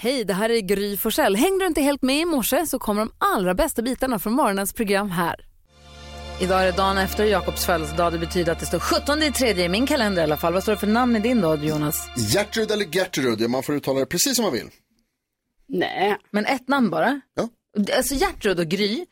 Hej, det här är Gry Forssell. Hängde du inte helt med i morse så kommer de allra bästa bitarna från morgonens program här. Idag är det dagen efter Jakobs födelsedag. Det betyder att det står 17 i tredje i min kalender i alla fall. Vad står det för namn i din då, Jonas? Gertrud eller Gertrud, man får uttala det precis som man vill. Nej. Men ett namn bara? Ja. Alltså Gertrud och Gry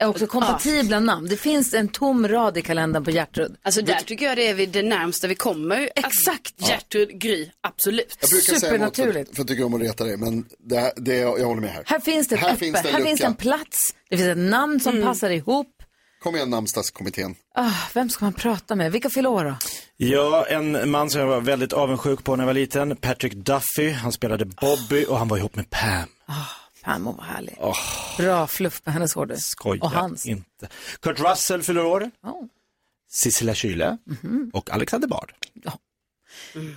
är också kompatibla namn. Det finns en tom rad i kalendern på Gertrud. Alltså där tycker jag det är vi- det närmsta vi kommer. Exakt Gertrud Gry, absolut. Jag brukar säga emot för, Supernaturligt. för att tycka om att reta dig, men det, här- det, jag, jag håller med här. Här finns det ett Här öppet, finns det en här finns lucka. det en plats, det finns ett namn som Mm. passar ihop. Kom igen namnsdagskommittén. Ah, vem ska man prata med? Vilka fyller år då? Ja, en man som jag var väldigt avundsjuk på när jag var liten, Patrick Duffy, han spelade Bobby och han var ihop med Pam. Ah, Ah. Fan, vad härlig. Bra fluff med hennes hår du. Skoja Och hans. Oh. inte. Kurt Russell fyller år, Ja. Sissela Kyle Mhm. och Alexander Bard.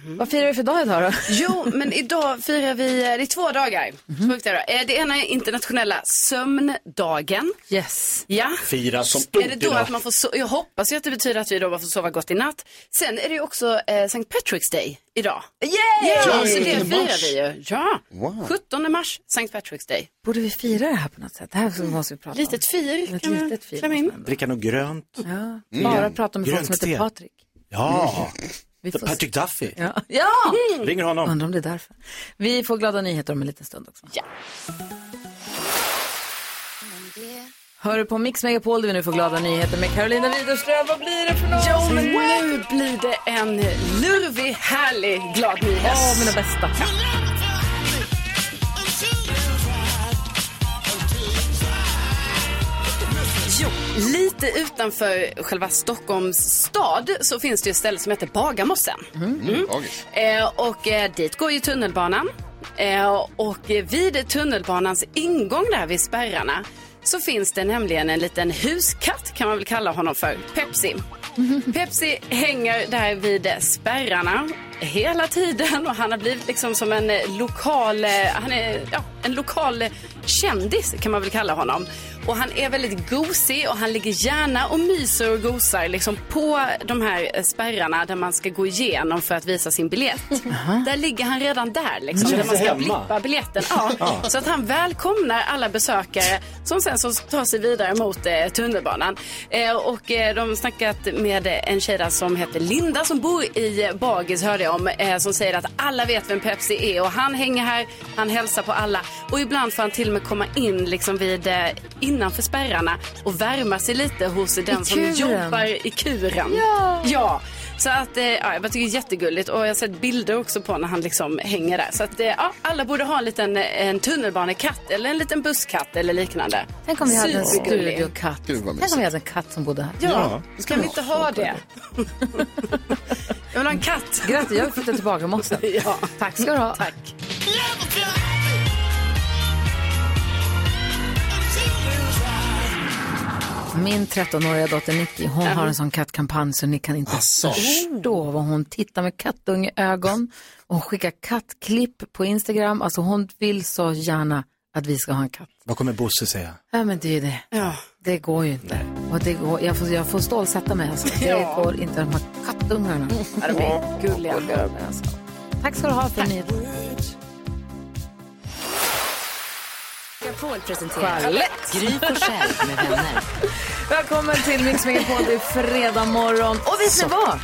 Vad firar vi för dag idag då? Mm. Jo, men idag firar vi, eh, det är två dagar. Mhm. Sjukt är det. Eh, Det ena är internationella sömndagen. Yes. Ja. Fira som Är det då att man får so- jag hoppas ju att det betyder att vi då bara får sova gott i natt. Sen är det ju också eh, St. Patrick's Day idag. Yay! Ja, så det 17 firar mars. vi ju. Ja, Wow. 17 mars, St. Patrick's Day. Borde vi fira det här på något sätt? Det här måste vi prata Litet fir om. kan man fir klämma in. måste man- Dricka något grönt. Ja. Bara prata med folk Grönt som heter te. Patrik. Ja, Vi får se. Mm. Patrick Duffy. Ja. ja! Ringer honom. Undrar om det är därför. Vi får glada nyheter om en liten stund också. Ja. Hör du på Mix Megapol där vi nu får glada nyheter med Carolina Widerström. Vad blir det för något? Jo, men nu blir det en lurvig, härlig, glad nyhet. Åh, mina bästa. Jo, lite utanför själva Stockholms stad så finns det ju ett ställe som heter Bagarmossen. Mm. Dagis. Eh, och eh, dit går ju tunnelbanan. Eh, och eh, vid tunnelbanans ingång där vid spärrarna så finns det nämligen en liten huskatt kan man väl kalla honom för, Pepsi. Pepsi hänger där vid spärrarna hela tiden och han har blivit liksom som en eh, lokal, eh, han är ja, en lokal eh, kändis kan man väl kalla honom. Och han är väldigt gosig och han ligger gärna och myser och gosar liksom på de här eh, spärrarna där man ska gå igenom för att visa sin biljett. Där ligger han redan där liksom, Mm. där man ska Hemma. blippa biljetten. Ja. Så att han välkomnar alla besökare som sen så tar sig vidare mot eh, tunnelbanan. Eh, och eh, de har snackat med eh, en tjej där som heter Linda som bor i eh, Bagis hörde jag om. Eh, som säger att alla vet vem Pepsi är och han hänger här, han hälsar på alla. Och ibland får han till och med komma in liksom vid, eh, innanför spärrarna och värma sig lite hos den som kuren. jobbar i kuren. Ja. Så att, eh, ja, jag bara tycker det är jättegulligt och jag har sett bilder också på när han liksom hänger där. Så att, eh, ja, alla borde ha en liten eh, en tunnelbanekatt eller en liten busskatt eller liknande. Tänk om vi hade en Supergullig. studiokatt. Gud, vad mysigt. Tänk om vi hade en katt som bodde här. Ja, det kan vi inte ha det? jag vill ha en katt. Grattis, jag flyttar tillbaka mossen. Ja. Tack ska du ha. Tack. Min 13-åriga dotter Nicky, hon har en sån kattkampanj så ni kan inte förstå vad hon tittar med kattungeögon. Och Hon skickar kattklipp på Instagram. Alltså hon vill så gärna att vi ska ha en katt. Vad kommer Bosse säga? Ja men det är ju det. Ja. Det går ju inte. Och det går, jag, får, jag får stålsätta mig alltså. Det Ja. går inte. De här kattungarna. Ja, de är gulliga. Alltså. Tack ska du ha för nyheterna. Megapol presenterar Gry Forssell med vänner. Välkommen till Mix Megapol, det är fredag morgon. Och vet ni vad?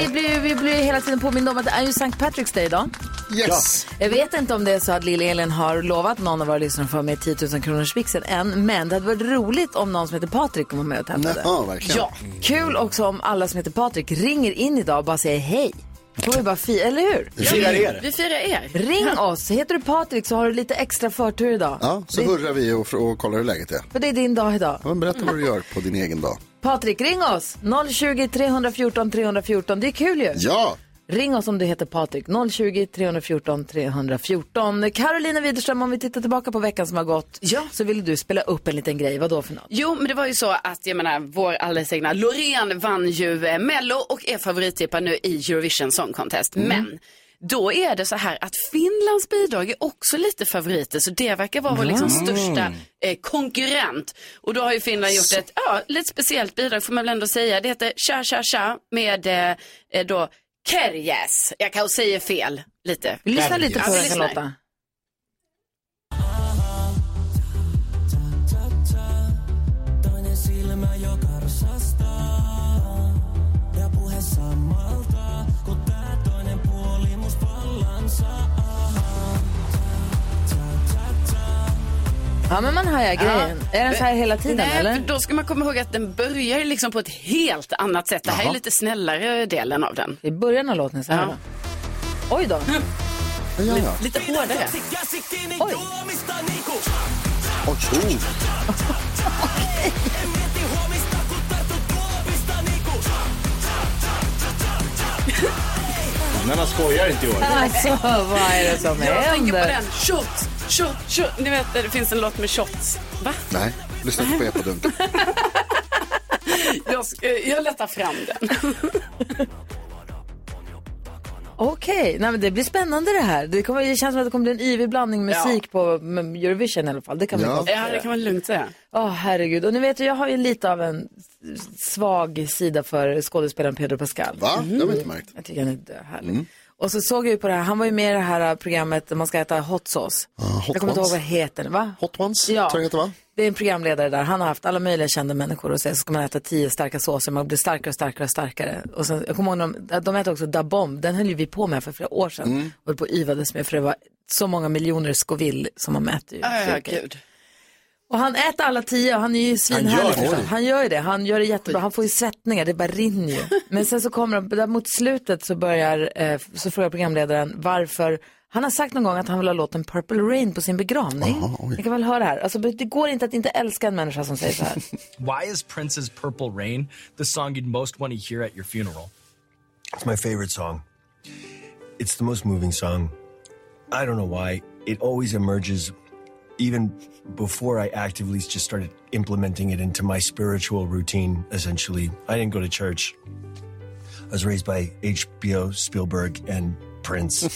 Vi blir, vi blir hela tiden påminna om att det är ju St. Patrick's Day idag. Yes! Jag vet inte om det är så att Lill-Elin har lovat någon av våra lyssnare för med 10 000 kronors vixen än, men det hade varit roligt om någon som heter Patrik kom med och tävlade. Jaha, verkligen. Ja, kul också om alla som heter Patrik ringer in idag och bara säger hej. Då är vi bara fi, eller hur? Firar er. Vi firar er. Ring oss, heter du Patrik så har du lite extra förtur idag. Ja, så hurrar vi och, och kollar hur läget är. För det är din dag idag. Ja, men berätta vad du gör på din egen dag. Patrik, ring oss! 020 314 314, det är kul ju. Ja! Ring oss om du heter Patrik. 020 314 314. Carolina Widerström, om vi tittar tillbaka på veckan som har gått Ja. så ville du spela upp en liten grej. Vad då för något? Jo, men det var ju så att jag menar, vår alldeles egna Loreen vann ju eh, Mello och är favorittippad nu i Eurovision Song Contest. Mm. Men då är det så här att Finlands bidrag är också lite favoriter, så det verkar vara vår liksom största eh, konkurrent. Och då har ju Finland gjort ett ja, lite speciellt bidrag får man väl ändå säga. Det heter Cha Cha Cha med eh, eh, då Kerjes. Jag kanske säger fel lite. Vi lyssnar lite på vi hur den kan lyssnar. låta. Ja, men man hajar grejen. Är den så här hela tiden Nej, eller? för då ska man komma ihåg att den börjar ju liksom på ett helt annat sätt. Det här är lite snällare delen av den. I början av låten så här. Ja. Oj då. Ja, ja, ja. Lite hårdare. Oj. Oj, oh. Men man skojar inte i år. Alltså, vad är det som Jag tänker på händer? den. Shots, shot, shot. Ni vet, det finns en låt med shots. Va? Nej, lyssna inte på epadunken. Jag, ska- jag letar fram den. Okej, nej, men det blir spännande det här. Det, kommer, det känns som att det kommer bli en yvig blandning musik på mm, Eurovision i alla fall. Det kan vi Ja. konstatera. Ja, det kan man lugnt säga. Åh, herregud. Och ni vet, ju, jag har ju lite av en s- svag sida för skådespelaren Pedro Pascal. Va? Det har vi inte märkt. Mm. Jag tycker han är döhärlig. Och så såg jag ju på det här, han var ju med i det här äh, programmet där man ska äta hot sauce. Ah, hot jag kommer inte ihåg ones. vad heter det, va? Hot Ones, Ja. tror jag inte va? Det är en programledare där, han har haft alla möjliga kända människor och säger så ska man äta tio starka såser, man blir starkare och starkare och starkare. Och sen, jag kommer ihåg, de, de äter också Da Bomb, den höll ju vi på med för flera år sedan Mm. och höll på och yvades med för det var så många miljoner Scoville som man mäter ju. Äh, Ja, Cirka. gud. Och han äter alla tio och han är ju svinhärlig. det. förstås. Han gör ju det, han gör det jättebra. Han får ju svettningar, det bara rinner ju. Men sen så kommer de, där mot slutet så börjar, eh, så frågar programledaren varför han har sagt någon gång att han vill ha låten Purple Rain på sin begravning. Ni kan väl höra här. Alltså, det går inte att inte älska en människa som säger så här. Why is Prince's Purple Rain the song you'd most want to hear at your funeral? It's my favorite song. It's the most moving song. I don't know why. It always emerges even before I actively just started implementing it into my spiritual routine, essentially. I didn't go to church. I was raised by HBO, Spielberg, and Prince.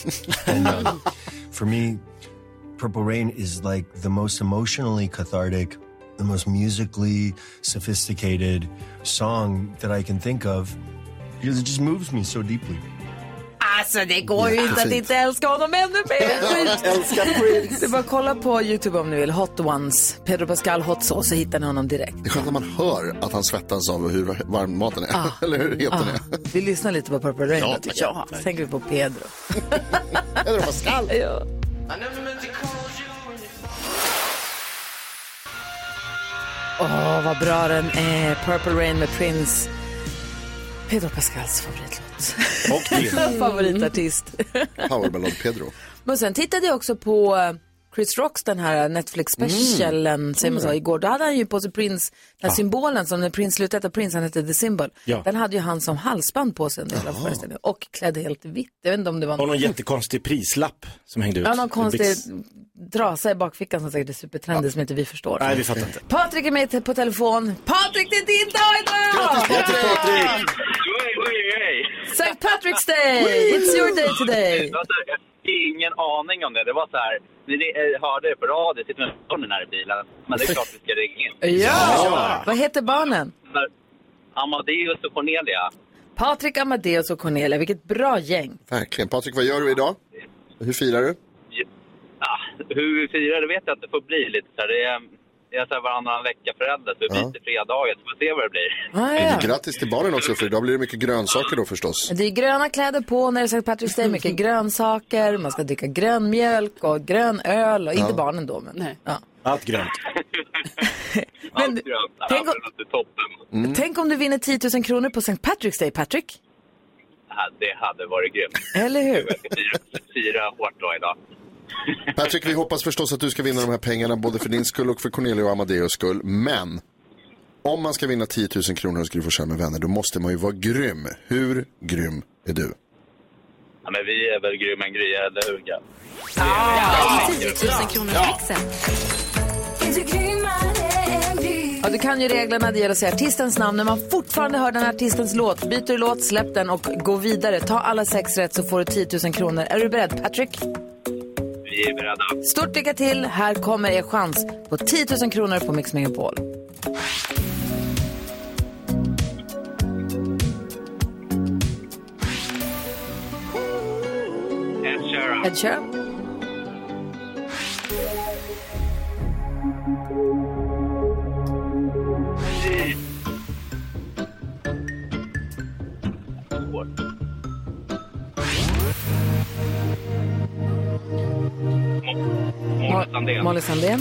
and um, for me, Purple Rain is like the most emotionally cathartic, the most musically sophisticated song that I can think of because it just moves me so deeply. Alltså det går ju inte att Jättefint. inte älska honom ännu mer. Älskar Prince. Det är bara att kolla på YouTube om ni vill. Hot Ones, Pedro Pascal Hot Sauce, så hittar ni honom direkt. Det är skönt när man hör att han svettas av hur varm maten är. Eller hur het den är. Ah. Vi lyssnar lite på Purple Rain Ja, då, tycker jag. Så tänker vi på Pedro. Eller vad skall. Ja. Åh, vad bra den är. Purple Rain med Prince. Pedro Pascals favoritlåt. Och till. Favoritartist. Powerballad Pedro. Men sen tittade jag också på eh, Chris Rocks den här Mm. Netflix-specialen, säger man så, igår. Då hade han ju på sig Prince, den här symbolen som när Prince slutade heta Prince, han hette The Symbol. Ja. Den hade ju han som halsband på sig en del av föreställningen och klädd helt vitt. Jag vet inte om det var Och någon jättekonstig prislapp som hängde ut. Ja, någon konstig Bix- trasa i bakfickan som säkert är supertrendig som inte vi förstår. Nej, vi fattar inte. Patrik är med te- på telefon. Patrik, det är din dag idag! Patrik, Patrik! Hej, hej, hej! St. Patrick's Day! It's your day today! Jag hade ingen aning om det. Det var så här, ni eh, hörde det på radio, sitter med barnen här i bilen. Men det är klart vi ska ringa in. Ja! Vad heter barnen? Så, Amadeus och Cornelia. Patrik, Amadeus och Cornelia. Vilket bra gäng. Verkligen. Patrik, vad gör du idag? Hur firar du? Ja, ah, hur vi firar det vet jag inte. Det får bli lite så här. Det är, det är så här varannan vecka förälder, så vi byter fredagar. Så får vi se vad det blir. Ah, ja. Grattis till barnen också, för idag blir det mycket grönsaker då förstås. Det är gröna kläder på när det är St. Patrick's Day. Mycket grönsaker. Man ska dricka grön mjölk och grön öl. Och inte barnen då, men... Nej. Ja. Allt grönt. Men Allt grönt. tänk, om, Allt är toppen. tänk om du vinner 10 000 kronor på St. Patrick's Day, Patrik. Ja, Det hade varit grymt. Eller hur? Fira, fira hårt då idag. Patrik, vi hoppas förstås att du ska vinna de här pengarna både för din skull och för Cornelia och Amadeus skull. Men om man ska vinna 10 000 kronor hos Gry Forssell med vänner, då måste man ju vara grym. Hur grym är du? Ja, men vi är väl grymma än Gry, eller hur? Gav? 10 000 kronor växeln. Ja, du kan ju reglerna. Det gäller att säga artistens namn. När man fortfarande hör den här artistens låt, byter du låt, släpp den och gå vidare. Ta alla sex rätt så får du 10 000 kronor. Är du beredd, Patrick? Vi är beredda. Stort lycka till. Här kommer er chans på 10 000 kronor på Mix Megapol. Ed Sheeran. Ed Sheeran. Molly Sandén. Molly Sandén.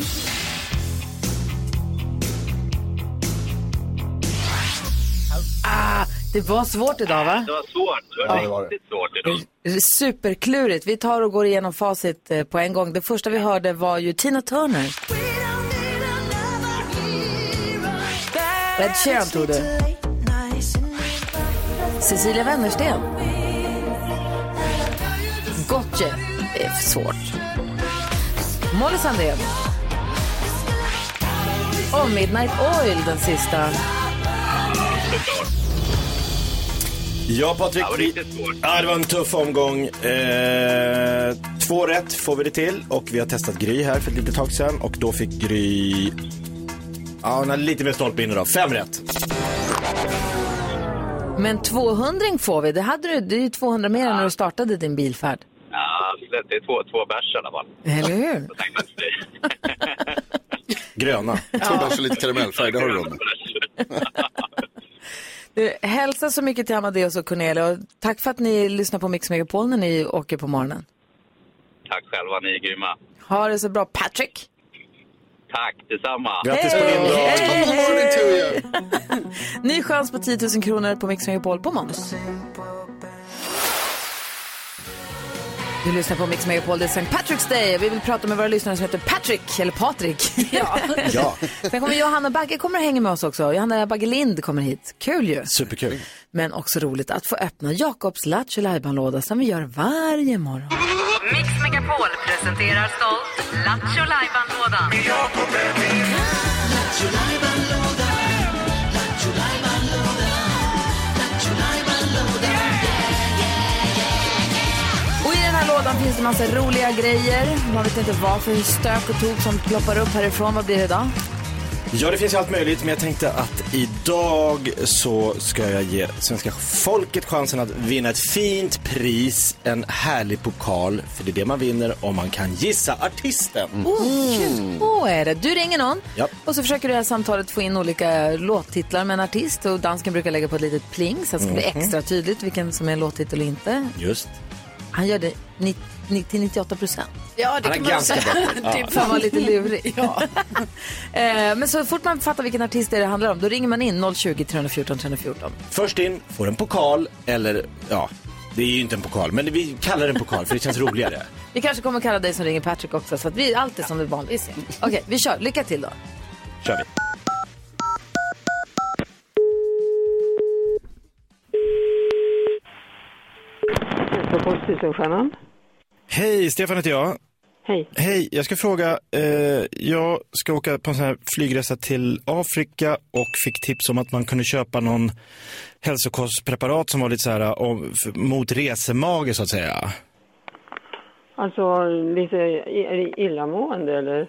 Ah, det var svårt idag va? Det var svårt. Det var riktigt svårt idag. Superklurigt. Vi tar och går igenom facit eh, på en gång. Det första vi hörde var ju Tina Turner. Ed Sheeran tog du. Cecilia Wennersten. Gotye. Det är för svårt. Molly Sandén. Och Midnight Oil den sista. Ja, Patrik. Det var vi- riktigt svårt. Ja, det var en tuff omgång. Eh, två rätt får vi det till och vi har testat Gry här för ett litet tag sedan och då fick Gry... Ja, hon hade lite mer stolpe in idag. Fem rätt. Men 200 får vi. Det, hade du, det är ju 200 mer än när du startade din bilfärd. Ja, absolut. Det är två, två bärs i alla fall. Eller hur? Jag tänkte att det- Gröna. Två bärs och lite karamellfärg, det har du råd med. Du, hälsa så mycket till Amadeus och Cornelia. Och tack för att ni lyssnar på Mix Megapol när ni åker på morgonen. Tack själva, ni är grymma. Ha det så bra. Patrick! Tack detsamma. Grattis på din dag. Good morning to you! Ny chans på 10 000 kronor på Mix Megapol på måndag. Du lyssnar på Mix Megapol, det är St. Patrick's Day. Vi vill prata med våra lyssnare som heter Patrick, eller Patrik. Ja. Sen kommer Johanna Bagge kommer och hänger med oss också. Johanna Bagge Lind kommer hit. Kul ju. Superkul. Men också roligt att få öppna Jakobs Lattjo Lajban-låda som vi gör varje morgon. Mix Megapol presenterar stolt Lattjo Lajban-lådan. Och i den här lådan finns det massa roliga grejer. Man vet inte vad för stök och tok som ploppar upp härifrån. Vad blir det idag? Ja, det finns ju allt möjligt, men jag tänkte att idag så ska jag ge svenska folket chansen att vinna ett fint pris, en härlig pokal, för det är det man vinner om man kan gissa artisten. Mm. Åh, kul. Åh, är det. Du ringer någon Mm. Ja. och så försöker du i det här samtalet få in olika låttitlar med en artist och dansken brukar lägga på ett litet pling så att det ska bli extra tydligt vilken som är en låttitel och inte. Mhm. Just. Han gör det ni- ni- till 98 procent. Typ, Ja, det Han är kan man ganska säga. Typ. bra. Det är För att fan- vara lite lurig. Eh, Men så fort man fattar vilken artist det, är det handlar om då ringer man in 020 314 314. Först in får en pokal, eller ja, det är ju inte en pokal, men vi kallar den pokal för det känns roligare. Vi kanske kommer kalla dig som ringer Patrick också så att vi allt är som det vanligt. Okej, vi kör. Lycka till då. Kör vi. Hej, Stefan heter jag. Hej. Hej, jag ska fråga. Eh, jag ska åka på en sån här flygresa till Afrika och fick tips om att man kunde köpa någon hälsokostpreparat som var lite så här eh, om, f- mot resemage så att säga. Alltså lite i- är det illamående eller?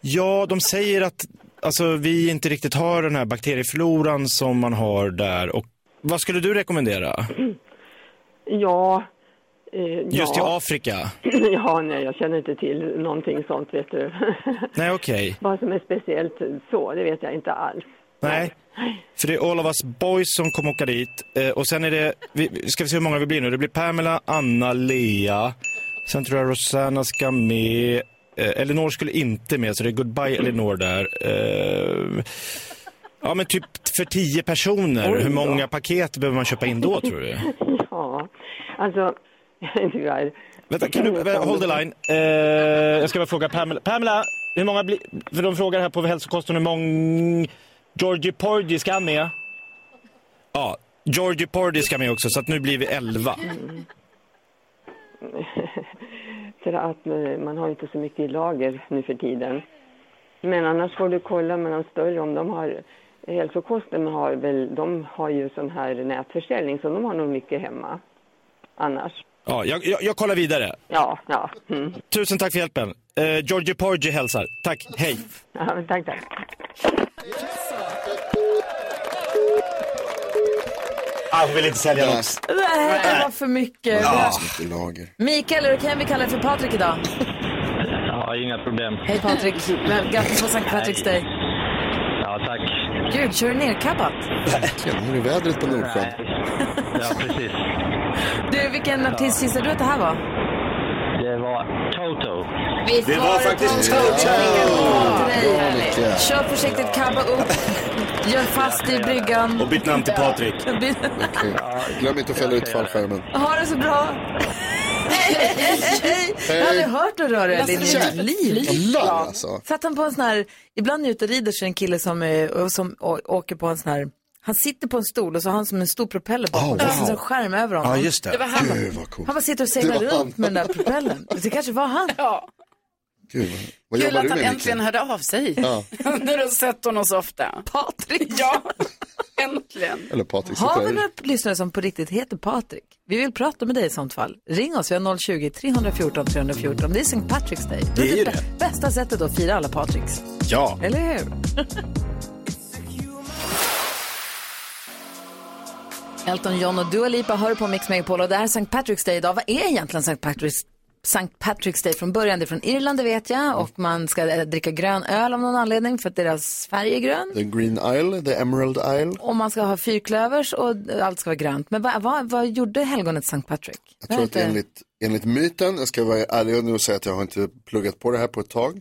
Ja, de säger att alltså, vi inte riktigt har den här bakteriefloran som man har där. Och vad skulle du rekommendera? Ja. Eh, Just ja. i Afrika? ja, nej, jag känner inte till någonting sånt vet du. Nej, okej. Vad som är speciellt så, det vet jag inte alls. Nej. För det är All of Us Boys som kommer åka dit. Eh, och sen är det, vi, ska vi se hur många vi blir nu. Det blir Pamela, Anna, Lea. Sen tror jag Rosanna ska med. Eh, Elinor skulle inte med, så det är Goodbye Elinor där. Eh, ja, men typ för tio personer. Hur många paket behöver man köpa in då, tror du? Ja, alltså, jag är inte glad. Vänta, kan du, vä- hold the line. Eh, jag ska bara fråga Pamela. Pamela, hur många blir, för de frågar här på hälsokosten hur många Georgie Porgy ska med? Ja, Georgie Porgy ska med också, så att nu blir vi elva. För att eh, man har inte så mycket i lager nu för tiden. Men annars får du kolla med de större om de har eh, hälsokosten har väl, de har ju sån här nätförsäljning så de har nog mycket hemma. Annars. Ja, jag, jag, jag kollar vidare. Ja, ja. Mm. Tusen tack för hjälpen. Eh, Georgie Porgy hälsar. Tack, hej. ja men tack, tack. Ah, hon vill inte sälja något. Ah. Nej, det var för mycket. Mycket lager. Mikael, eller kan vi kalla dig för Patrik idag? Ja, inga problem. Hej Patrik. Men Grattis på St. Patrick's Day. Ja, tack. Gud, kör du nerkappat? Hur är vädret på Nordsjön? Ja, precis. Du, vilken artist gissar du att det här var? Det var Toto. Toto. Visst Det var faktiskt Toto! Toto! Grej, Bra, härligt. Micke. Kör projektet Kabba upp, gör fast i bryggan. Och byt namn till Patrik. Okej. Glöm inte att fälla ut fallskärmen. Ha det så bra! Hej! Jag har aldrig hört något rörigare i Jävlar, mitt liv. alltså. Satt han på en sån här, ibland är jag ute och rider så är det en kille som, eh, och som å- åker på en sån här, han sitter på en stol och så har han som en stor propeller bakom, Oh, oh, wow. wow. en skärm över honom. Ja, just det. Det var han. Gud, vad han coolt. bara sitter och Det seglar var han. runt med den där propellen. Det kanske var han. Gud, vad, vad Kul jobbar att du han med äntligen Micke? hörde av sig. Ja. När du har sett honom så ofta. Patrik! Ja, äntligen. Eller Patrik Har sitter vi där. några lyssnare som på riktigt heter Patrik? Vi vill prata med dig i sånt fall. Ring oss, vi har 020-314 314. Det är St. Patrick's Day. Det är ju bä- Bästa sättet att fira alla Patricks. Ja. Eller hur? Elton John och Dua Lipa hör på Mix Megapol och det här är St. Patrick's Day idag. Vad är egentligen St. Patrick's, St. Patrick's Day från början? Det är från Irland, det vet jag. Och man ska eh, dricka grön öl av någon anledning för att deras färg är grön. The Green Isle, The Emerald Isle. Och man ska ha fyrklövers och allt ska vara grönt. Men vad, vad, vad gjorde helgonet Sankt Patrick? Jag tror att enligt, enligt myten, jag ska vara ärlig nu och säga att jag har inte pluggat på det här på ett tag.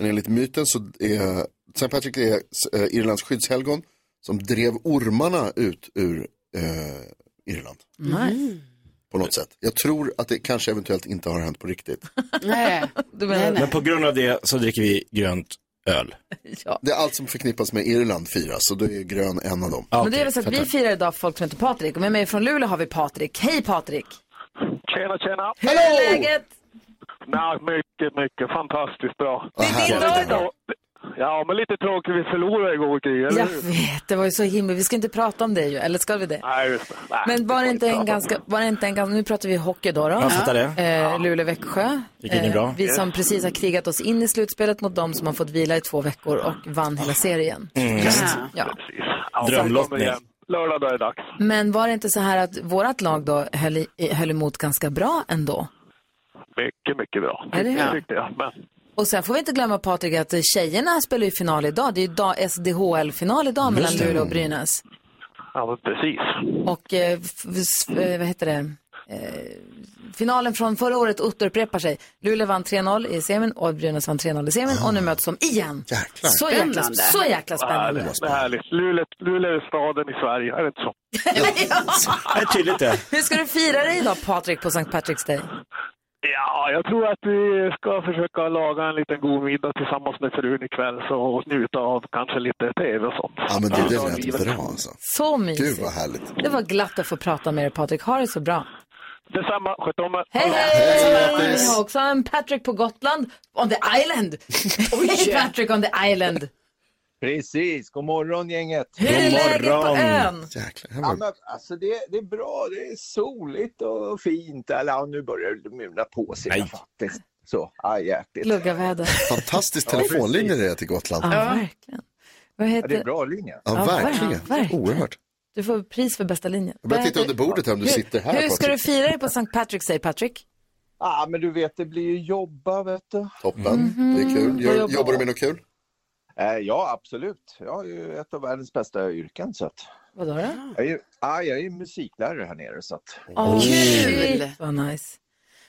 Men enligt myten så är St. Patrick är eh, Irlands skyddshelgon som drev ormarna ut ur eh, Irland Nej. på något sätt. Jag tror att det kanske eventuellt inte har hänt på riktigt. Nej. Du Men på grund av det så dricker vi grönt öl. Det är allt som förknippas med Irland firas och då är grön en av dem. Men det är väl så att vi firar idag folk som heter Patrik. Och med mig från Luleå har vi Patrik. Hej Patrik! Tjena, tjena! Hur är läget? Nej, mycket, mycket. Fantastiskt bra. Det är din dag idag. Ja, men lite tråkigt. Vi förlorade igår, Gry, eller Jag hur? vet, det var ju så himla... Vi ska inte prata om det ju, eller ska vi det? Nej, just det. Nej, Men var det får inte vi en prata om. ganska, var det inte en ganska, nu pratar vi hockey då. då. Jag fattar det. Eh, Luleå-Växjö. Eh, Gick in i bra. vi som precis har krigat oss in i slutspelet mot dem som har fått vila i två veckor och vann hela serien. Mm. Ja. Ja, Drömlottning. vi kommer igen. Lördag, då är det dags. Men var det inte så här att vårt lag då höll, i, höll emot ganska bra ändå? Mycket, mycket bra. Är det Det det? tyckte jag. Men Och sen får vi inte glömma Patrik att tjejerna spelar ju final idag. Det är ju dag- SDHL-final idag mellan det. Luleå och Brynäs. ja, men precis. Och eh, f- s- eh, vad heter det? Eh, finalen från förra året återupprepar sig. Luleå vann 3-0 i semin och Brynäs vann 3-0 i semin Ah. och nu möts de igen. Så jäkla, så jäkla spännande. Härligt. Det är härligt. Luleå, Luleå är staden i Sverige, är det inte så? Det är tydligt det. Hur ska du fira dig idag Patrik på St. Patrick's Day? Ja, jag tror att vi ska försöka laga en liten god middag tillsammans med frun ikväll så njuta av kanske lite tv och sånt. Ja, men det, det lät bra alltså. Så mysigt. Gud vad härligt. Det var glatt att få prata med dig Patrik. Ha det så bra. Detsamma, sköt om er. Hej, hej! Vi har också en Patrick på Gotland, on the island. Hej Patrick on the island. Precis, god morgon gänget! Hur är God läget på morgon. ön? Ja, men, alltså det, det är bra, det är soligt och fint. Eller, ja, nu börjar det mulna på sig men faktiskt. Så, ja, jäkligt. Luggaväder. Fantastisk telefonlinje det är till Gotland. Ja, verkligen. Vad Ja, det är heter... en bra linje. Ja, verkligen. Ja, verkligen. Oerhört. Du får pris för bästa linjen. Jag börjar Vad titta heter- under bordet här om du Hur- sitter här, Hur ska du Patrik. fira dig på St. Patrick, säger Patrick? Ja, men du vet, det blir ju jobba, vet du. Toppen. Mhm. Det är kul. Gör, jobbar du med något kul? Eh, ja, absolut. Jag har ju ett av världens bästa yrken. Så att... Vadå då? jag, är, ju- ja, jag är ju musiklärare här nere. Så att... Ah. Åh, Kul! Vad nice.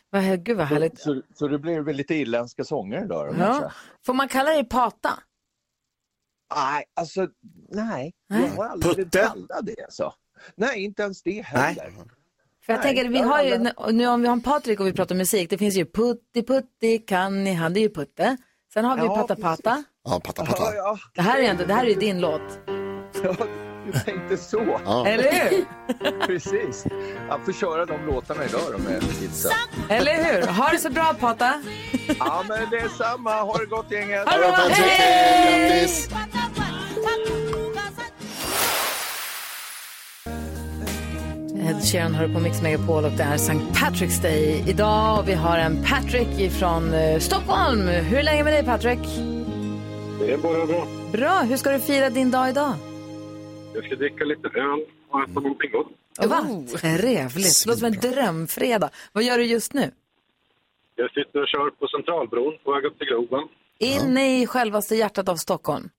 Vad, här- gud vad härligt. Så, så det blir väl lite irländska sånger idag då, Ja. kanske? Får man kalla dig Pata? Nej, alltså nej. Jag har aldrig blivit kallad det. Alltså. Nej, inte ens det heller. För jag Nej, tänker, vi jag har ju, håller- nu- nu om vi har en Patrik och vi pratar musik, det finns ju Putti Putti, kan ni, han, det är ju Putte. Sen har vi Ja, Patta Patta. Ja, patta, patta. Ja, Det här är ju ändå, det här är ju din låt. ja. Jag tänkte så. Ja. Eller hur? Precis. Jag får köra de låtarna idag då med kidsen. Eller hur? Ha det så bra Pata. Ja, men det är samma. Ha det gott gänget. Ha det bra, hej! Grattis! Ed Sheeran hör på Mix Megapol och det är St. Patrick's Day idag. Och Vi har en Patrick från Stockholm. Hur är läget med dig Patrick? Det är bara bra. Bra, hur ska du fira din dag idag? Jag ska dricka lite öl och äta någonting gott. Vad Oh, trevligt, låter som en drömfredag. Vad gör du just nu? Jag sitter och kör på Centralbron på väg upp till Globen. Inne i självaste hjärtat av Stockholm.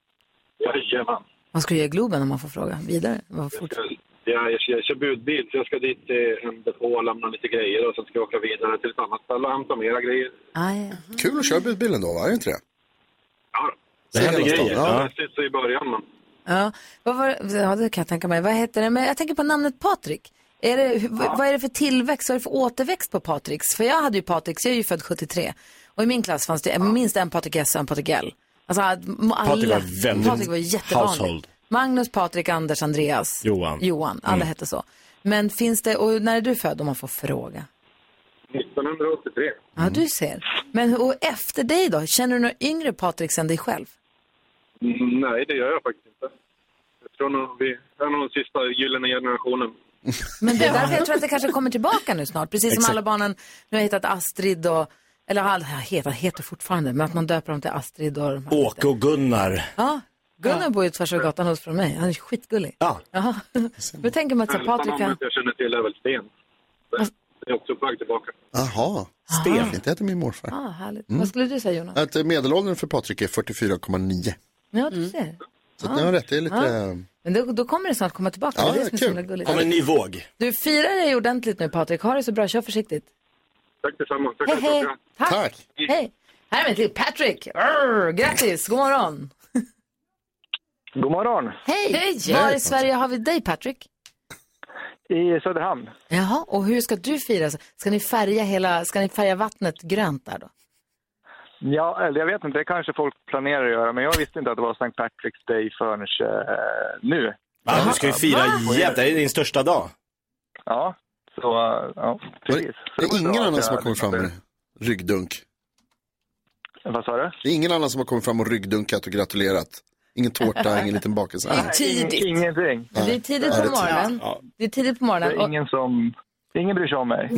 Jajamän. Vad ska du göra i Globen om man får fråga vidare? Vad fort... Jag, jag, jag kör budbil, så jag ska dit till en depå och lämna lite grejer och sen ska jag åka vidare till ett annat ställe och hämta mera grejer. Eh. Kul att köra budbilen då, va? Är det inte det? Det händer händer grejer. grejer, ja. Ja. Det är så i början, men... Ja, vad var, ja, det kan jag tänka mig. Vad heter det? Men jag tänker på namnet Patrik. Är det, hur- v- Vad är det för tillväxt, vad är det för återväxt på Patriks? För jag hade ju Patriks, jag är ju född 73. Och i min klass fanns det minst en Patrik S och en Patrik L. Alltså, att m- alla, Patrik var väldigt Patrik var jättevanlig. household. Magnus, Patrik, Anders, Andreas, Johan. Johan alla Mm. hette så. Men finns det, och när är du född om man får fråga? 1983. Ja, Mm. du ser. Men hur- och efter dig då, känner du några yngre Patriks än dig själv? Mm, Nej, det gör jag faktiskt inte. Jag tror nog vi är nog den sista gyllene generationen. Men det är därför jag tror att det kanske kommer tillbaka nu snart. Precis som Exakt. alla barnen nu har hittat Astrid och, eller alla heter, heter fortfarande, men att man döper dem till Astrid och de här. Åke och Gunnar. Ja, Gunnar bor ju tvärs över gatan hos från mig. Han är skitgullig. Ja. Jaha. Men tänker man att så här, Patrik namnet kan... jag känner till är väl Sten. Det är också på väg tillbaka. Aha. Sten. Det heter min morfar. Ah, härligt. Mm. Vad skulle du säga Jonas? Att eh, medelåldern för Patrik är 44,9. Ja, du ser. Mm. Så att ni har rätt, det är lite... eh, Men då, då kommer det snart komma tillbaka. Ja, det är det som är så himla kul. gulligt. våg. Du firar dig ordentligt nu Patrik. Ha det så bra. Kör försiktigt. Tack detsamma. Tack, Hej, tack, hej. tack. Tack. Mm. Hej. Här är vi till Patrick. Arr, grattis. God morgon. God morgon. Hej. Hej. Var i Sverige har vi dig Patrick? I Söderhamn. Jaha, och hur ska du fira? Ska ni färga, hela, ska ni färga vattnet grönt där då? Ja, eller jag vet inte, det kanske folk planerar att göra, men jag visste inte att det var St. Patrick's Day förrän eh, nu. Ja, du ska ju fira Va? jävla, det är din största dag. Ja, så eh, ja, precis. Det är ingen annan som har kommit fram med ryggdunk. Vad sa du? Det är ingen annan som har kommit fram och ryggdunkat och gratulerat. Ingen tårta, ingen liten bakelse. tidigt. Ingenting. Men Det är tidigt på morgonen. Det är tidigt på Det morgonen. är ingen som, ingen bryr sig om mig.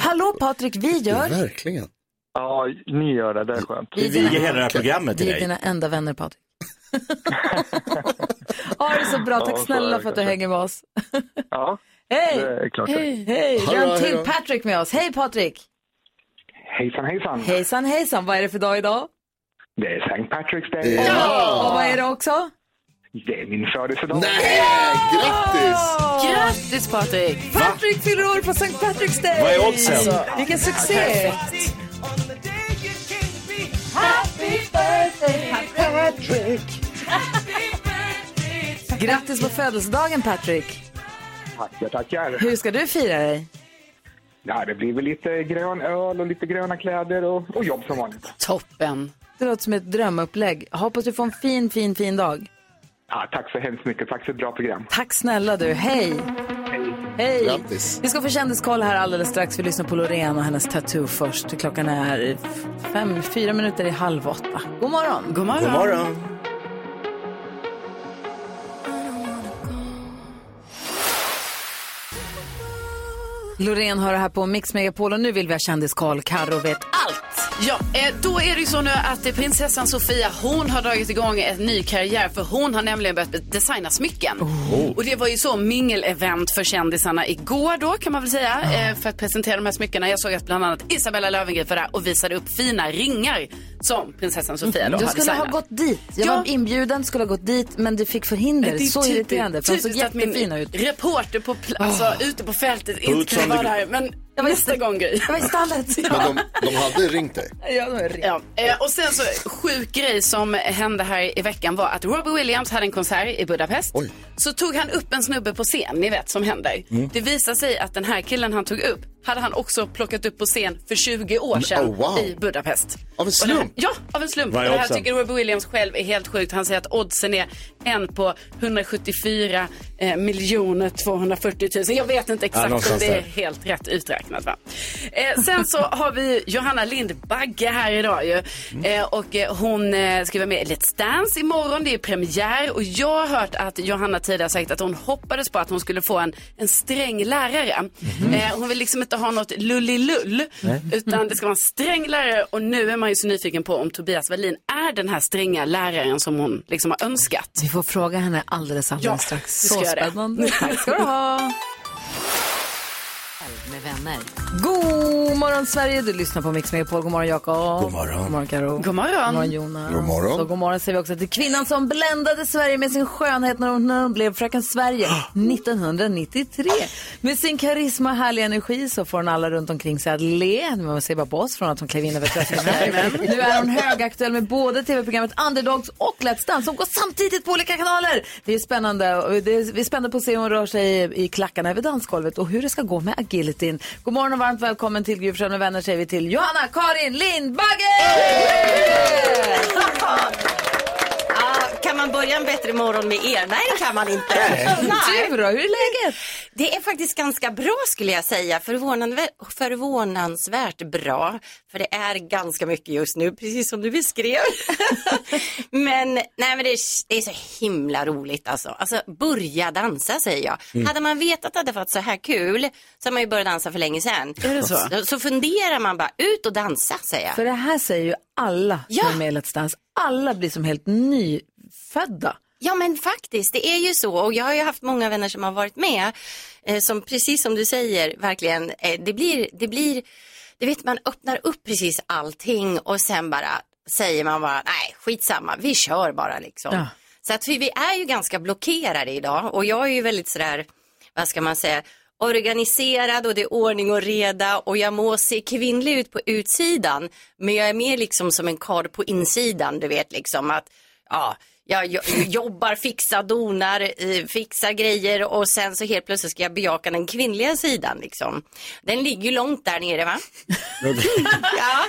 Hallå, Hallå Patrik, vi gör. Verkligen. Ja, ni gör det, det är skönt. Vi viger hela det här programmet Vi är dina enda vänner Patrik. ha det så bra. Ja, Tack så är snälla det för att du kanske. hänger med oss. Ja, Hej! det är klart. Hej! Hej! Vi har en till Patrick med oss. Hej Patrik! Hejsan, hejsan. Hejsan hejsan, vad är det för dag idag? Det är St. Patrick's Day. Ja! Och vad är det också? Det är min födelsedag. Grattis! Grattis Patrik! Patrik fyller år på St. Patrick's Day! Vad är oddsen? Alltså, Vilken succé! Happy birthday, Patrick! Grattis på födelsedagen Patrik! Tackar, tackar. Hur ska du fira dig? Ja, det blir väl lite grön öl och lite gröna kläder och, och jobb som vanligt. Toppen! Det låter som ett drömupplägg. Hoppas du får en fin, fin, fin dag. Ja, tack så hemskt mycket. Tack för ett bra program. Tack snälla du, hej! Hej! Vi ska få kändiskoll här alldeles strax. Vi lyssnar på Loreen och hennes tattoo först. Klockan är fem, fyra minuter i halv åtta. God morgon! God morgon. God morgon. Loreen hör det här på Mix Megapol och nu vill vi ha kändiskoll. Carro vet Allt! Ja, eh, då är det ju så nu att eh, prinsessan Sofia, hon har dragit igång en ny karriär för hon har nämligen börjat designa smycken. Oh. Och det var ju så mingelevent för kändisarna igår då kan man väl säga. eh, För att presentera de här smyckena. Jag såg att bland annat Isabella Löwengrip var där och visade upp fina ringar som prinsessan Sofia då Du har skulle designat. ha gått dit. Jag Ja. var inbjuden, skulle ha gått dit, men du fick förhinder. Det är så typiskt- irriterande, för de såg typiskt att min jättefina ut. Reporter på pl- alltså, ute på fältet Boots inte on kunde vara the- där. Men nästa gång Gry. Jag var i stallet. Men de, de hade ringt dig. Ja, de är riktigt. Ja, eh, och sen så sjuk grej som hände här i veckan var att Robbie Williams hade en konsert i Budapest. Så tog han upp en snubbe på scen, ni vet som händer. Mm. Det visar sig att den här killen han tog upp hade han också plockat upp på scen för 20 år sedan oh, wow. i Budapest. Av en Och det här- slump? Ja, av en slump. Och Vad är det här oddsen? tycker Robbie Williams själv är helt sjukt. Han säger att oddsen är en på 174 eh, miljoner 240 000. Jag vet Ja, inte exakt om någonstans det är där. helt rätt uträknat. Va? Eh, sen så har vi Johanna Lindbagge här idag ju. Mm. Eh, och eh, hon eh, ska vara med i Let's Dance imorgon. Det är premiär och jag har hört att Johanna tidigare sagt att hon hoppades på att hon skulle få en, en sträng lärare. Eh, hon vill liksom inte ha något lullilull Mhm. Nej. utan det ska vara en sträng lärare och nu är man ju så nyfiken på om Tobias Wallin är den här stränga läraren som hon liksom har önskat. Vi får fråga henne alldeles, alldeles strax. vi ska Så göra det. spännande. Tack ska du ha. med vänner. God morgon Sverige, du lyssnar på Mix Megapol. God morgon Jakob. God morgon. God morgon Karo. God morgon. God morgon Jonas. God morgon. Och god morgon säger vi också till kvinnan som bländade Sverige med sin skönhet när hon, när hon blev fröken Sverige 1993. Med sin karisma och härliga energi så får hon alla runt omkring sig att le. Man ser bara på oss från att hon klev in över tröskeln. nu är hon högaktuell med både tv-programmet Underdogs och Let's Dance som går samtidigt på olika kanaler. Det är spännande. Och det är, vi är spända på att se hur hon rör sig i, i klackarna över dansgolvet och hur det ska gå med agilityn. God morgon och varmt välkommen till Gry Forssell med vänner säger vi till Johanna Karin Lindbagge! Ah, kan man börja en bättre morgon med er? Nej, det kan man inte. Du då, hur är läget? Det är faktiskt ganska bra skulle jag säga. Förvånanvä- förvånansvärt bra. För det är ganska mycket just nu, precis som du beskrev. men nej, men det, är, det är så himla roligt alltså. Alltså, börja dansa säger jag. Mm. Hade man vetat att det hade varit så här kul så hade man ju börjat dansa för länge sedan. Är det så? Så, så funderar man bara, ut och dansa säger jag. För det här säger ju alla som är med i Let's Dance. Alla blir som helt nyfödda. Ja men faktiskt, det är ju så och jag har ju haft många vänner som har varit med eh, som precis som du säger verkligen, eh, det blir, det blir, du vet man öppnar upp precis allting och sen bara säger man bara nej skitsamma, vi kör bara liksom. Ja. Så att vi, vi är ju ganska blockerade idag och jag är ju väldigt sådär, vad ska man säga, organiserad och det är ordning och reda och jag må se kvinnlig ut på utsidan men jag är mer liksom som en karl på insidan du vet liksom att ja, jag jo- jobbar, fixar, donar, eh, fixar grejer och sen så helt plötsligt ska jag bejaka den kvinnliga sidan liksom. Den ligger ju långt där nere va?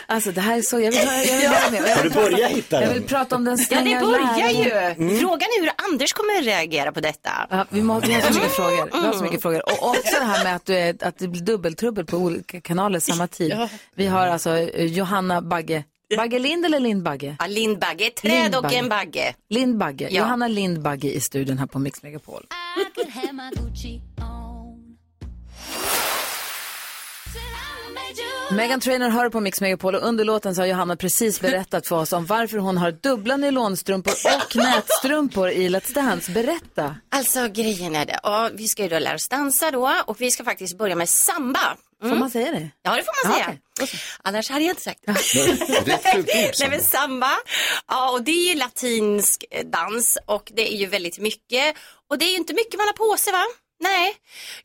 Alltså det här är så, jag vill, höra- jag vill, Ja. höra mer. jag vill Har du prata- börjat hitta Jag den? Mm. vill prata om den Ja stränga det börjar ju. läraren. Frågan är hur Anders kommer reagera på detta. Ja, vi, må, vi har så mycket frågor. Vi har så mycket frågor. Och också det här med att, du är, att det blir dubbeltrubbel på olika kanaler samma tid. Ja. Vi har alltså eh, Johanna Bagge. Bagge Lind eller Lindbagge? Ja, Lindbagge, ett träd och Lindbagge. en bagge. Lindbagge. Ja. Johanna Lindbagge i studion här på Mix Megapol. Megan Trainor hör på Mix Megapol och under låten så har Johanna precis berättat för oss om varför hon har dubbla nylonstrumpor och nätstrumpor i Let's Dance. Berätta. Alltså grejen är det, ja, vi ska ju då lära oss dansa då och vi ska faktiskt börja med samba. Får Mm. man säga det? Ja, det får man säga. Annars hade jag inte sagt det. Nej, men samba. Ja, och det är ju latinsk eh, dans och det är ju väldigt mycket. Och det är ju inte mycket man har på sig va? Nej.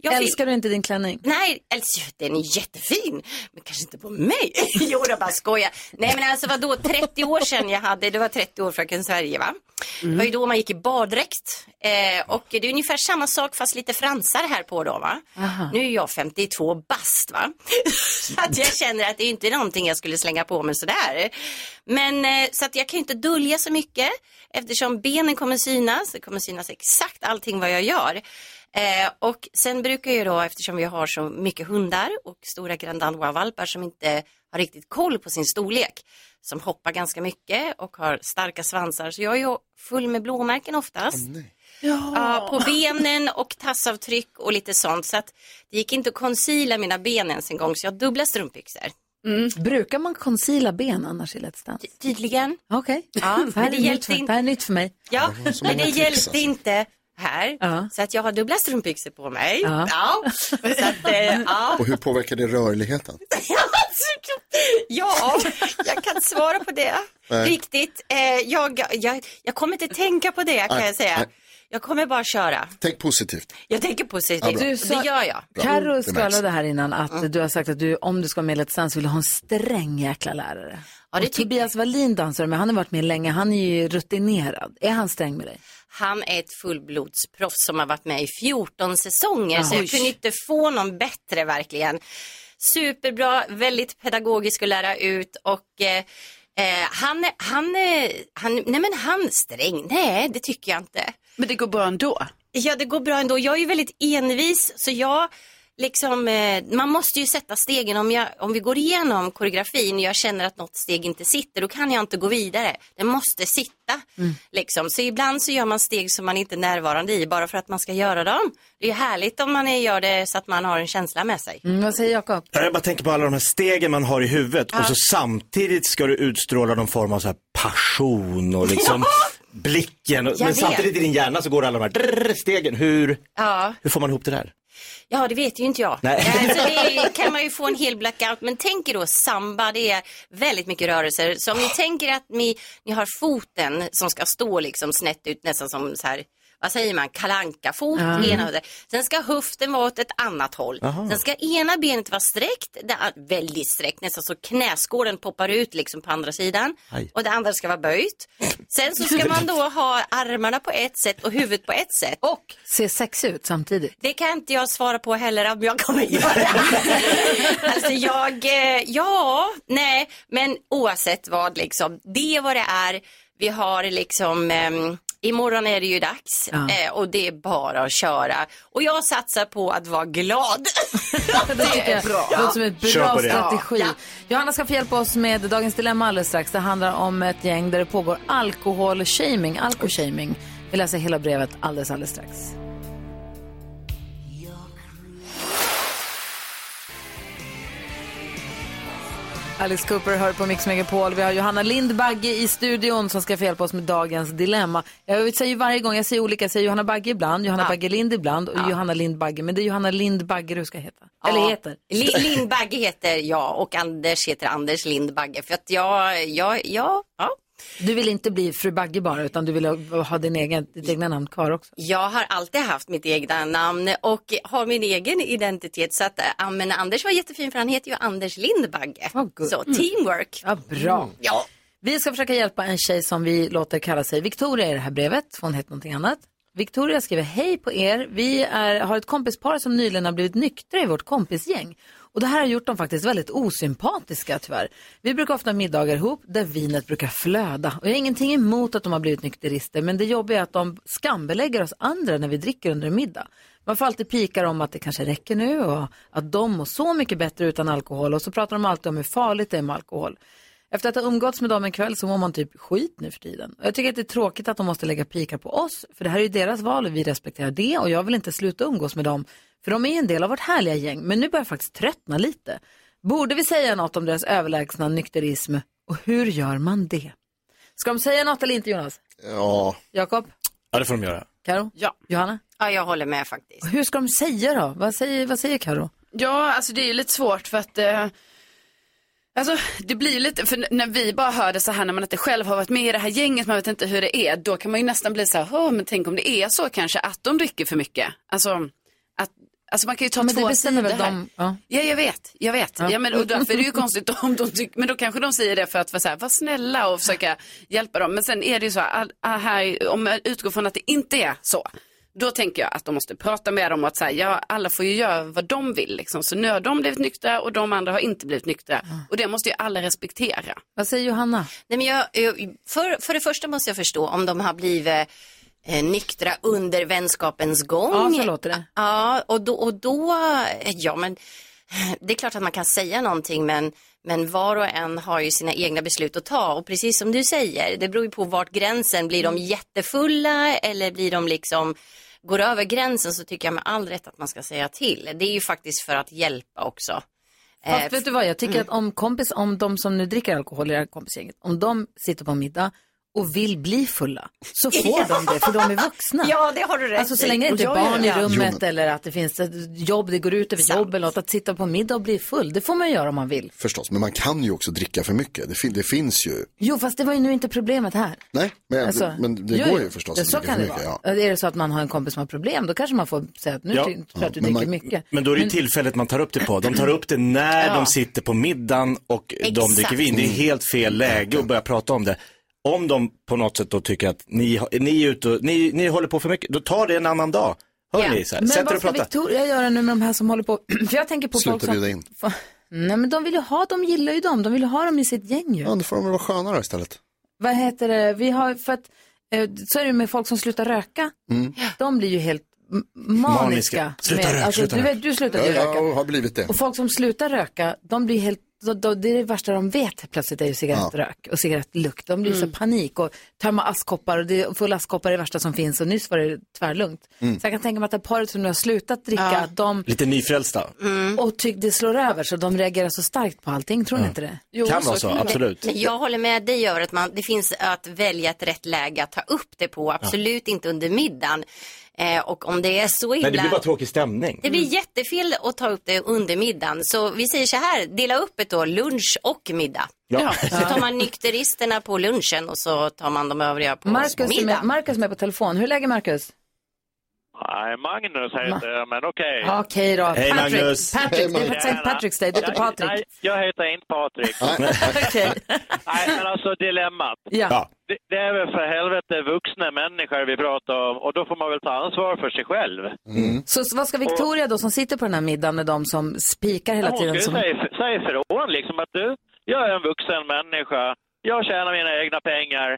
Älskar du inte din klänning? Nej, älskar den är jättefin. Men kanske inte på mig. jo, jag bara skojar. Nej, men alltså vadå, 30 år sedan jag hade, det var 30 år Fröken Sverige va? Det var ju då man gick i baddräkt. Eh, och det är ungefär samma sak fast lite fransar här på då va? Aha. Nu är jag 52 bast va? så att jag känner att det är inte någonting jag skulle slänga på mig sådär. Men eh, så att jag kan ju inte dölja så mycket eftersom benen kommer synas. Det kommer synas exakt allting vad jag gör. Eh, och sen brukar jag då, eftersom vi har så mycket hundar och stora grandanois-valpar som inte har riktigt koll på sin storlek, som hoppar ganska mycket och har starka svansar, så jag är ju full med blåmärken oftast. Ja. Ja, på benen och tassavtryck och lite sånt. Så att det gick inte att conceala mina ben ens en gång, så jag har dubbla strumpbyxor. Mm. Brukar man conceala ben annars i Let's Dance? Tydligen. Okej, Ja, det, här men det är nytt hjälpte för- inte. det här är nytt för mig. Ja, Det var så men det många hjälpte tricks, alltså. inte här. Så att jag har dubbla strumpbyxor på mig. Ja. Ja. Så att, eh, ja. Och hur påverkar det rörligheten? ja, jag kan inte svara på det. Nej. Riktigt. Eh, jag, jag, jag kommer inte tänka på det kan Nej, jag säga. nej. Jag kommer bara köra. Tänk positivt. Jag tänker Ja, positivt. bra. Du sa... Det gör jag. Mm. Carro Det märks. skvallrade här innan att du har sagt att du, om du ska med i Let's Dance, vill du ha en sträng jäkla lärare. Ja, det och Tobias Wallin dansar med, han har varit med länge, han är ju rutinerad. Är han sträng med dig? Han är ett fullblodsproffs som har varit med i 14 säsonger så Oj. jag kunde inte få någon bättre verkligen. Superbra, väldigt pedagogisk att lära ut och eh, eh, han, han, eh, han, nej men han sträng, nej det tycker jag inte. Men det går bra ändå? Ja det går bra ändå, jag är ju väldigt envis så jag Liksom, eh, man måste ju sätta stegen. Om, jag, om vi går igenom koreografin och jag känner att något steg inte sitter, då kan jag inte gå vidare. Det måste sitta. Mm. Liksom. Så ibland så gör man steg som man inte är närvarande i bara för att man ska göra dem. Det är ju härligt om man är- gör det så att man har en känsla med sig. Mm, vad säger Jakob? Ja, Jag bara tänker på alla de här stegen man har i huvudet Ja. och så samtidigt ska du utstråla någon form av så här passion och liksom blicken. Och, Jag men vet. samtidigt i din hjärna så går alla de här drrrr stegen. Hur, Ja. hur får man ihop det där? Ja, det vet ju inte jag. Nej. Alltså, det kan man ju få en hel blackout. Men tänk er då samba, det är väldigt mycket rörelser. Så om ni tänker att ni, ni har foten som ska stå liksom snett ut, nästan som så här, vad säger man, kalanka fot Ja. ena höften. Sen ska höften vara åt ett annat håll. Aha. Sen ska ena benet vara sträckt, det är väldigt sträckt, nästan så knäskålen poppar ut liksom på andra sidan. Aj. Och det andra ska vara böjt. Sen så ska man då ha armarna på ett sätt och huvudet på ett sätt. Och Ser sexig ut samtidigt. det kan inte jag svara på heller om jag kommer göra. alltså jag, eh, ja, nej, men oavsett vad liksom, det är vad det är. Vi har liksom, ehm, imorgon är det ju dags Ja. eh, och det är bara att köra. Och jag satsar på att vara glad. Det tycker jag låter som en bra strategi. Johanna ska få hjälpa oss med dagens dilemma alldeles strax. Det handlar om ett gäng där det pågår alkoholshaming. Alkoshaming. Vi läser hela brevet alldeles, alldeles strax. Alice Cooper hör på Mix Megapol. Vi har Johanna Lindbagge i studion som ska få hjälpa oss med dagens dilemma. Jag säger ju varje gång, jag säger olika, jag säger Johanna Bagge ibland, Johanna Bagge Lind ibland och Johanna Lindbagge. Men det är Johanna Lindbagge du ska heta. Eller Ja. heter. Li- Lindbagge heter jag och Anders heter Anders Lindbagge. För att jag, jag, jag, ja. Du vill inte bli fru Bagge bara, utan du vill ha ha din egen, ditt egna namn kvar också. Jag har alltid haft mitt egna namn och har min egen identitet. Så att, äh, men Anders var jättefin för han heter ju Anders Lindbagge. så Mm. teamwork. Ja, bra. Mm. Ja. Vi ska försöka hjälpa en tjej som vi låter kalla sig Victoria i det här brevet. Hon heter någonting annat. Victoria skriver, hej på er. Vi är, har ett kompispar som nyligen har blivit nyktra i vårt kompisgäng. Och det här har gjort dem faktiskt väldigt osympatiska tyvärr. Vi brukar ofta ha middagar ihop där vinet brukar flöda. Och jag har ingenting emot att de har blivit nykterister, men det jobbiga är att de skambelägger oss andra när vi dricker under en middag. Man får alltid pikar om att det kanske räcker nu och att de mår så mycket bättre utan alkohol och så pratar de alltid om hur farligt det är med alkohol. Efter att ha umgåtts med dem en kväll så mår man typ skit nu för tiden. Och jag tycker att det är tråkigt att de måste lägga pikar på oss, för det här är ju deras val och vi respekterar det och jag vill inte sluta umgås med dem, för de är ju en del av vårt härliga gäng, men nu börjar jag faktiskt tröttna lite. Borde vi säga något om deras överlägsna nykterism och hur gör man det? Ska de säga något eller inte Jonas? Ja. Jakob? Ja, det får de göra. Karo? Ja. Johanna? Ja, jag håller med faktiskt. Och hur ska de säga då? Vad säger, vad säger Karo? Ja, alltså det är ju lite svårt för att eh, Alltså det blir ju lite, för n- när vi bara hör det så här när man inte själv har varit med i det här gänget, man vet inte hur det är, då kan man ju nästan bli så här, "Åh, men tänk om det är så kanske att de dricker för mycket. Alltså, att, alltså man kan ju ta men det två bestämmer sidor väl här. de? Ja. Ja, jag vet. Jag vet. Ja. Ja. men, och därför är det ju konstigt om de tycker, men då kanske de säger det för att vara, så här, vara snälla och försöka hjälpa dem. Men sen är det ju så här, ah, ah, här, om jag utgår från att det inte är så, då tänker jag att de måste prata med dem och att så här, ja, alla får ju göra vad de vill. Liksom. Så nu har de blivit nyktra och de andra har inte blivit nyktra. Och det måste ju alla respektera. Vad säger Johanna? Nej, men jag, jag- för, för det första måste jag förstå om de har blivit eh, nyktra under vänskapens gång. Ja, så låter det. Ja, och då, och då eh, ja men det är klart att man kan säga någonting men, men var och en har ju sina egna beslut att ta och precis som du säger, det beror ju på vart gränsen, blir Mm. de jättefulla eller blir de liksom går över gränsen så tycker jag med all rätt att man ska säga till. Det är ju faktiskt för att hjälpa också. Eh, Fast vet du vad, jag tycker mm. att om kompis, om de som nu dricker alkohol i det här kompisgänget, om de sitter på middag och vill bli fulla, så får de det, för de är vuxna. Ja, det har du rätt Alltså så i. länge det inte är Och jag barn i gör det. rummet Jo, men- eller att det finns ett jobb, det går ut över jobb eller något, att sitta på middag och bli full, det får man göra om man vill. Förstås, men man kan ju också dricka för mycket. Det, fin- det finns ju. Jo, fast det var ju nu inte problemet här. Nej, men, Alltså, men det jo, går jo. ju förstås Ja, Så dricka kan för det mycket, vara. ja. Är det så att man har en kompis som har problem, då kanske man får säga att nu Ja. ty- tror jag att du Ja, men dricker man- mycket. Men då är det ju tillfället man tar upp det på. De tar upp det när Ja. de sitter på middagen och de Exakt. dricker vin. Det är helt fel läge att börja prata om det. Om de på något sätt då tycker att ni, har- ni, är ute och, ni, ni håller på för mycket, då tar det en annan dag. Hör ni? Så här, Men sätt er vad och ska prata. Victoria göra nu med de här som håller på? För jag tänker på folk som... in. Nej men de vill ju ha, de gillar ju dem, de vill ju ha dem i sitt gäng ju. Ja, då får de väl vara skönare istället. Vad heter det, vi har, för att, eh, så är det med folk som slutar röka. Mm. De blir ju helt m- maniska. Sluta med, röka, alltså, sluta du, röka. vet, du slutar ja, ju röka. Jag har blivit det. Och folk som slutar röka, de blir helt, då, då, det är det värsta de vet plötsligt är ju cigarettrök och cigarettlukt. De blir så panik och tömma askkoppar och det, fulla askkoppar är det värsta som finns och nyss var det tvärlugnt. Mm. Så jag kan tänka mig att det här paret som nu har slutat dricka, att de Lite nyfrälsta. och tyck, det slår över så de reagerar så starkt på allting, tror ni inte det? kan vara så, absolut. Men jag håller med dig över att man, det finns att välja ett rätt läge att ta upp det på, absolut inte under middagen. Eh, och om det är så illa. Nej, det blir bara tråkig stämning. Det blir jättefel att ta upp det under middagen. Så vi säger så här, dela upp ett då, lunch och middag. Ja. Så tar man nykteristerna på lunchen och så tar man de övriga på Marcus, är med, middag. Marcus är med på telefon. Hur är läget Marcus? Nej, Magnus heter jag, eh, men okej. Ja, Okej då. Hej, Patrick. Magnus. Patrick, Hej, det är Magnus. faktiskt St. Patrick's Day. Det heter Patrik. Nej, jag heter inte Patrik. Okej. Nej, men alltså dilemmat. Ja. Ja. Det, det är väl för helvete vuxna människor vi pratar om och då får man väl ta ansvar för sig själv. Mm. Så, så vad ska Victoria då, som sitter på den här middagen med de som spikar hela Hon tiden? ska Som... ju säga, säga ifrån liksom att du, jag är en vuxen människa, jag tjänar mina egna pengar.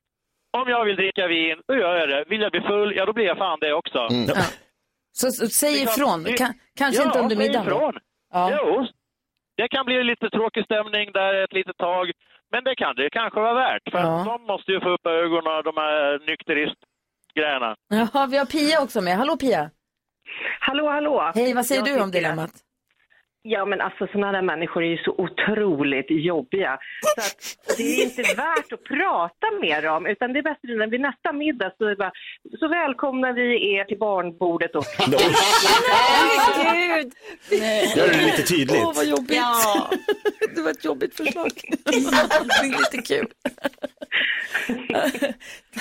Om jag vill dricka vin, då gör jag det. Vill jag bli full, ja då blir jag fan det också. Så, så säg Det kan- ifrån. det- Kan, kanske ja, inte under säg middagen. då. Ifrån. Jo, det kan bli lite tråkig stämning där ett litet tag, men det kan det kanske vara värt. För Ja. de måste ju få upp ögonen, de här nykteristgrejerna. Jaha, vi har Pia också med. Hallå Pia! Hallå, hallå! Hej, vad säger Jag du om tycker dilemmat? Ja, men alltså sådana där människor är ju så otroligt jobbiga. Så att det är inte värt att prata med dem, utan det är bättre när vi nästa middag så är det bara, så välkomnar vi er till barnbordet och... Gud! Nej. Gör det lite tydligt. Åh, vad jobbigt. Ja. det var ett jobbigt förslag. det är lite kul.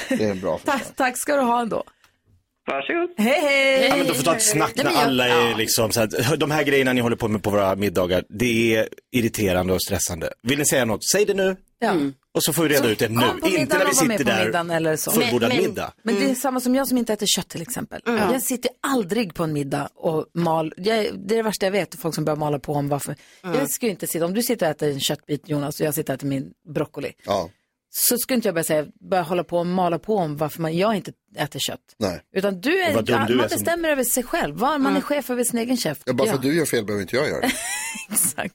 Det är en bra fråga. Tack, tack ska du ha ändå. Varsågod. Hej, hej! Ja, men då får ta ett snack när Nej, men jag- alla är liksom så här, de här grejerna ni håller på med på våra middagar, det är irriterande och stressande. Vill ni säga något, säg det nu. Ja. Och så får vi reda ut det nu, Kom på inte när vi middagen och var med sitter på middagen eller där så. fullbordad middag. Men det är samma som jag som inte äter kött till exempel. Mm. Jag sitter aldrig på en middag och mal. Jag, det är det värsta jag vet, folk som börjar mala på om varför. Mm. Jag skulle inte sitta, om du sitter och äter en köttbit Jonas och jag sitter och äter min broccoli. Ja. Så skulle inte jag börja säga, börja hålla på och mala på om varför man, jag inte äter kött. Nej. Utan du är, Och vad dum man du är som- bestämmer över sig själv. Var, man är chef över sin egen chef. Ja, bara för Ja. att du gör fel behöver inte jag göra det. Exakt.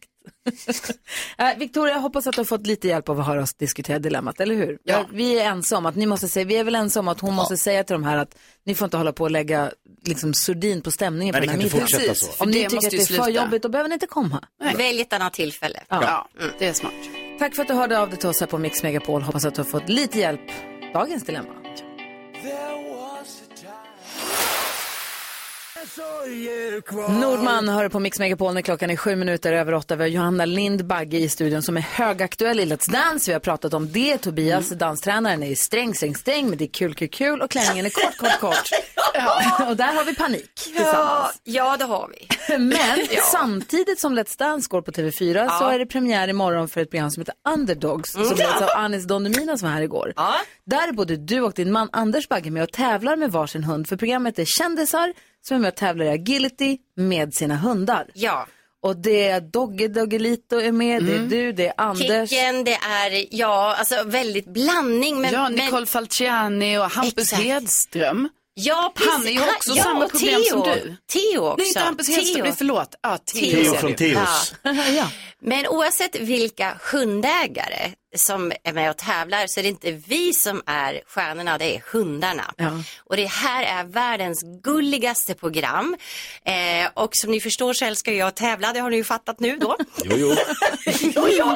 Eh, Victoria, jag hoppas att du har fått lite hjälp av att höra oss diskutera dilemmat, eller hur? Ja. Vi är ensamma om att ni måste säga, vi är väl ensamma om att hon måste säga till de här att ni får inte hålla på och lägga liksom sordin på stämningen Nej, på det den här kan inte fortsätta middagen. Precis, så. för Om ni det tycker måste att det ju är för sluta. jobbigt, då behöver ni inte komma. Välj ett annat tillfälle. Ja. mm. det är smart. Tack för att du hörde av dig till oss här på Mix Megapol. Hoppas att du har fått lite hjälp. Dagens dilemma. Nordman hör på Mix Megapol när klockan är sju minuter över åtta. Vi har Johanna Lind Bagge i studion som är högaktuell i Let's Dance. Vi har pratat om det. Tobias, danstränaren, är sträng, sträng, sträng. Men det är kul, kul, kul. Och klänningen är kort, kort, kort. Och där har vi panik Ja, tillsammans. ja, det har vi. Men Ja. samtidigt som Let's Dance går på TV4 så Ja. är det premiär imorgon för ett program som heter Underdogs Mm. som leds av Anis Don Demina som var här igår. Där är både du och din man Anders Bagge med och tävlar med varsin hund för programmet är kändisar som är med och tävlar i agility med sina hundar. Ja. Mm. Och det är Dogge Doggelito är med, det är du, det är Anders. Kicken, det är, ja, alltså väldigt blandning. Men, Ja, men, Nicole Falciani och Hampus Hedström. ja, precis. Han är ju också ja, samma och problem Theo. som du. Theo också. Nej, inte Hampus Hedström, Theo. det är förlåt. Ja, Theo. Theo ser från du. Theos. Ja. Men oavsett vilka hundägare som är med och tävlar så är det inte vi som är stjärnorna, det är hundarna. Och det här är världens gulligaste program. Eh, och som ni förstår så älskar jag att tävla, det har ni ju fattat nu då. Jo, jo. jo, jo.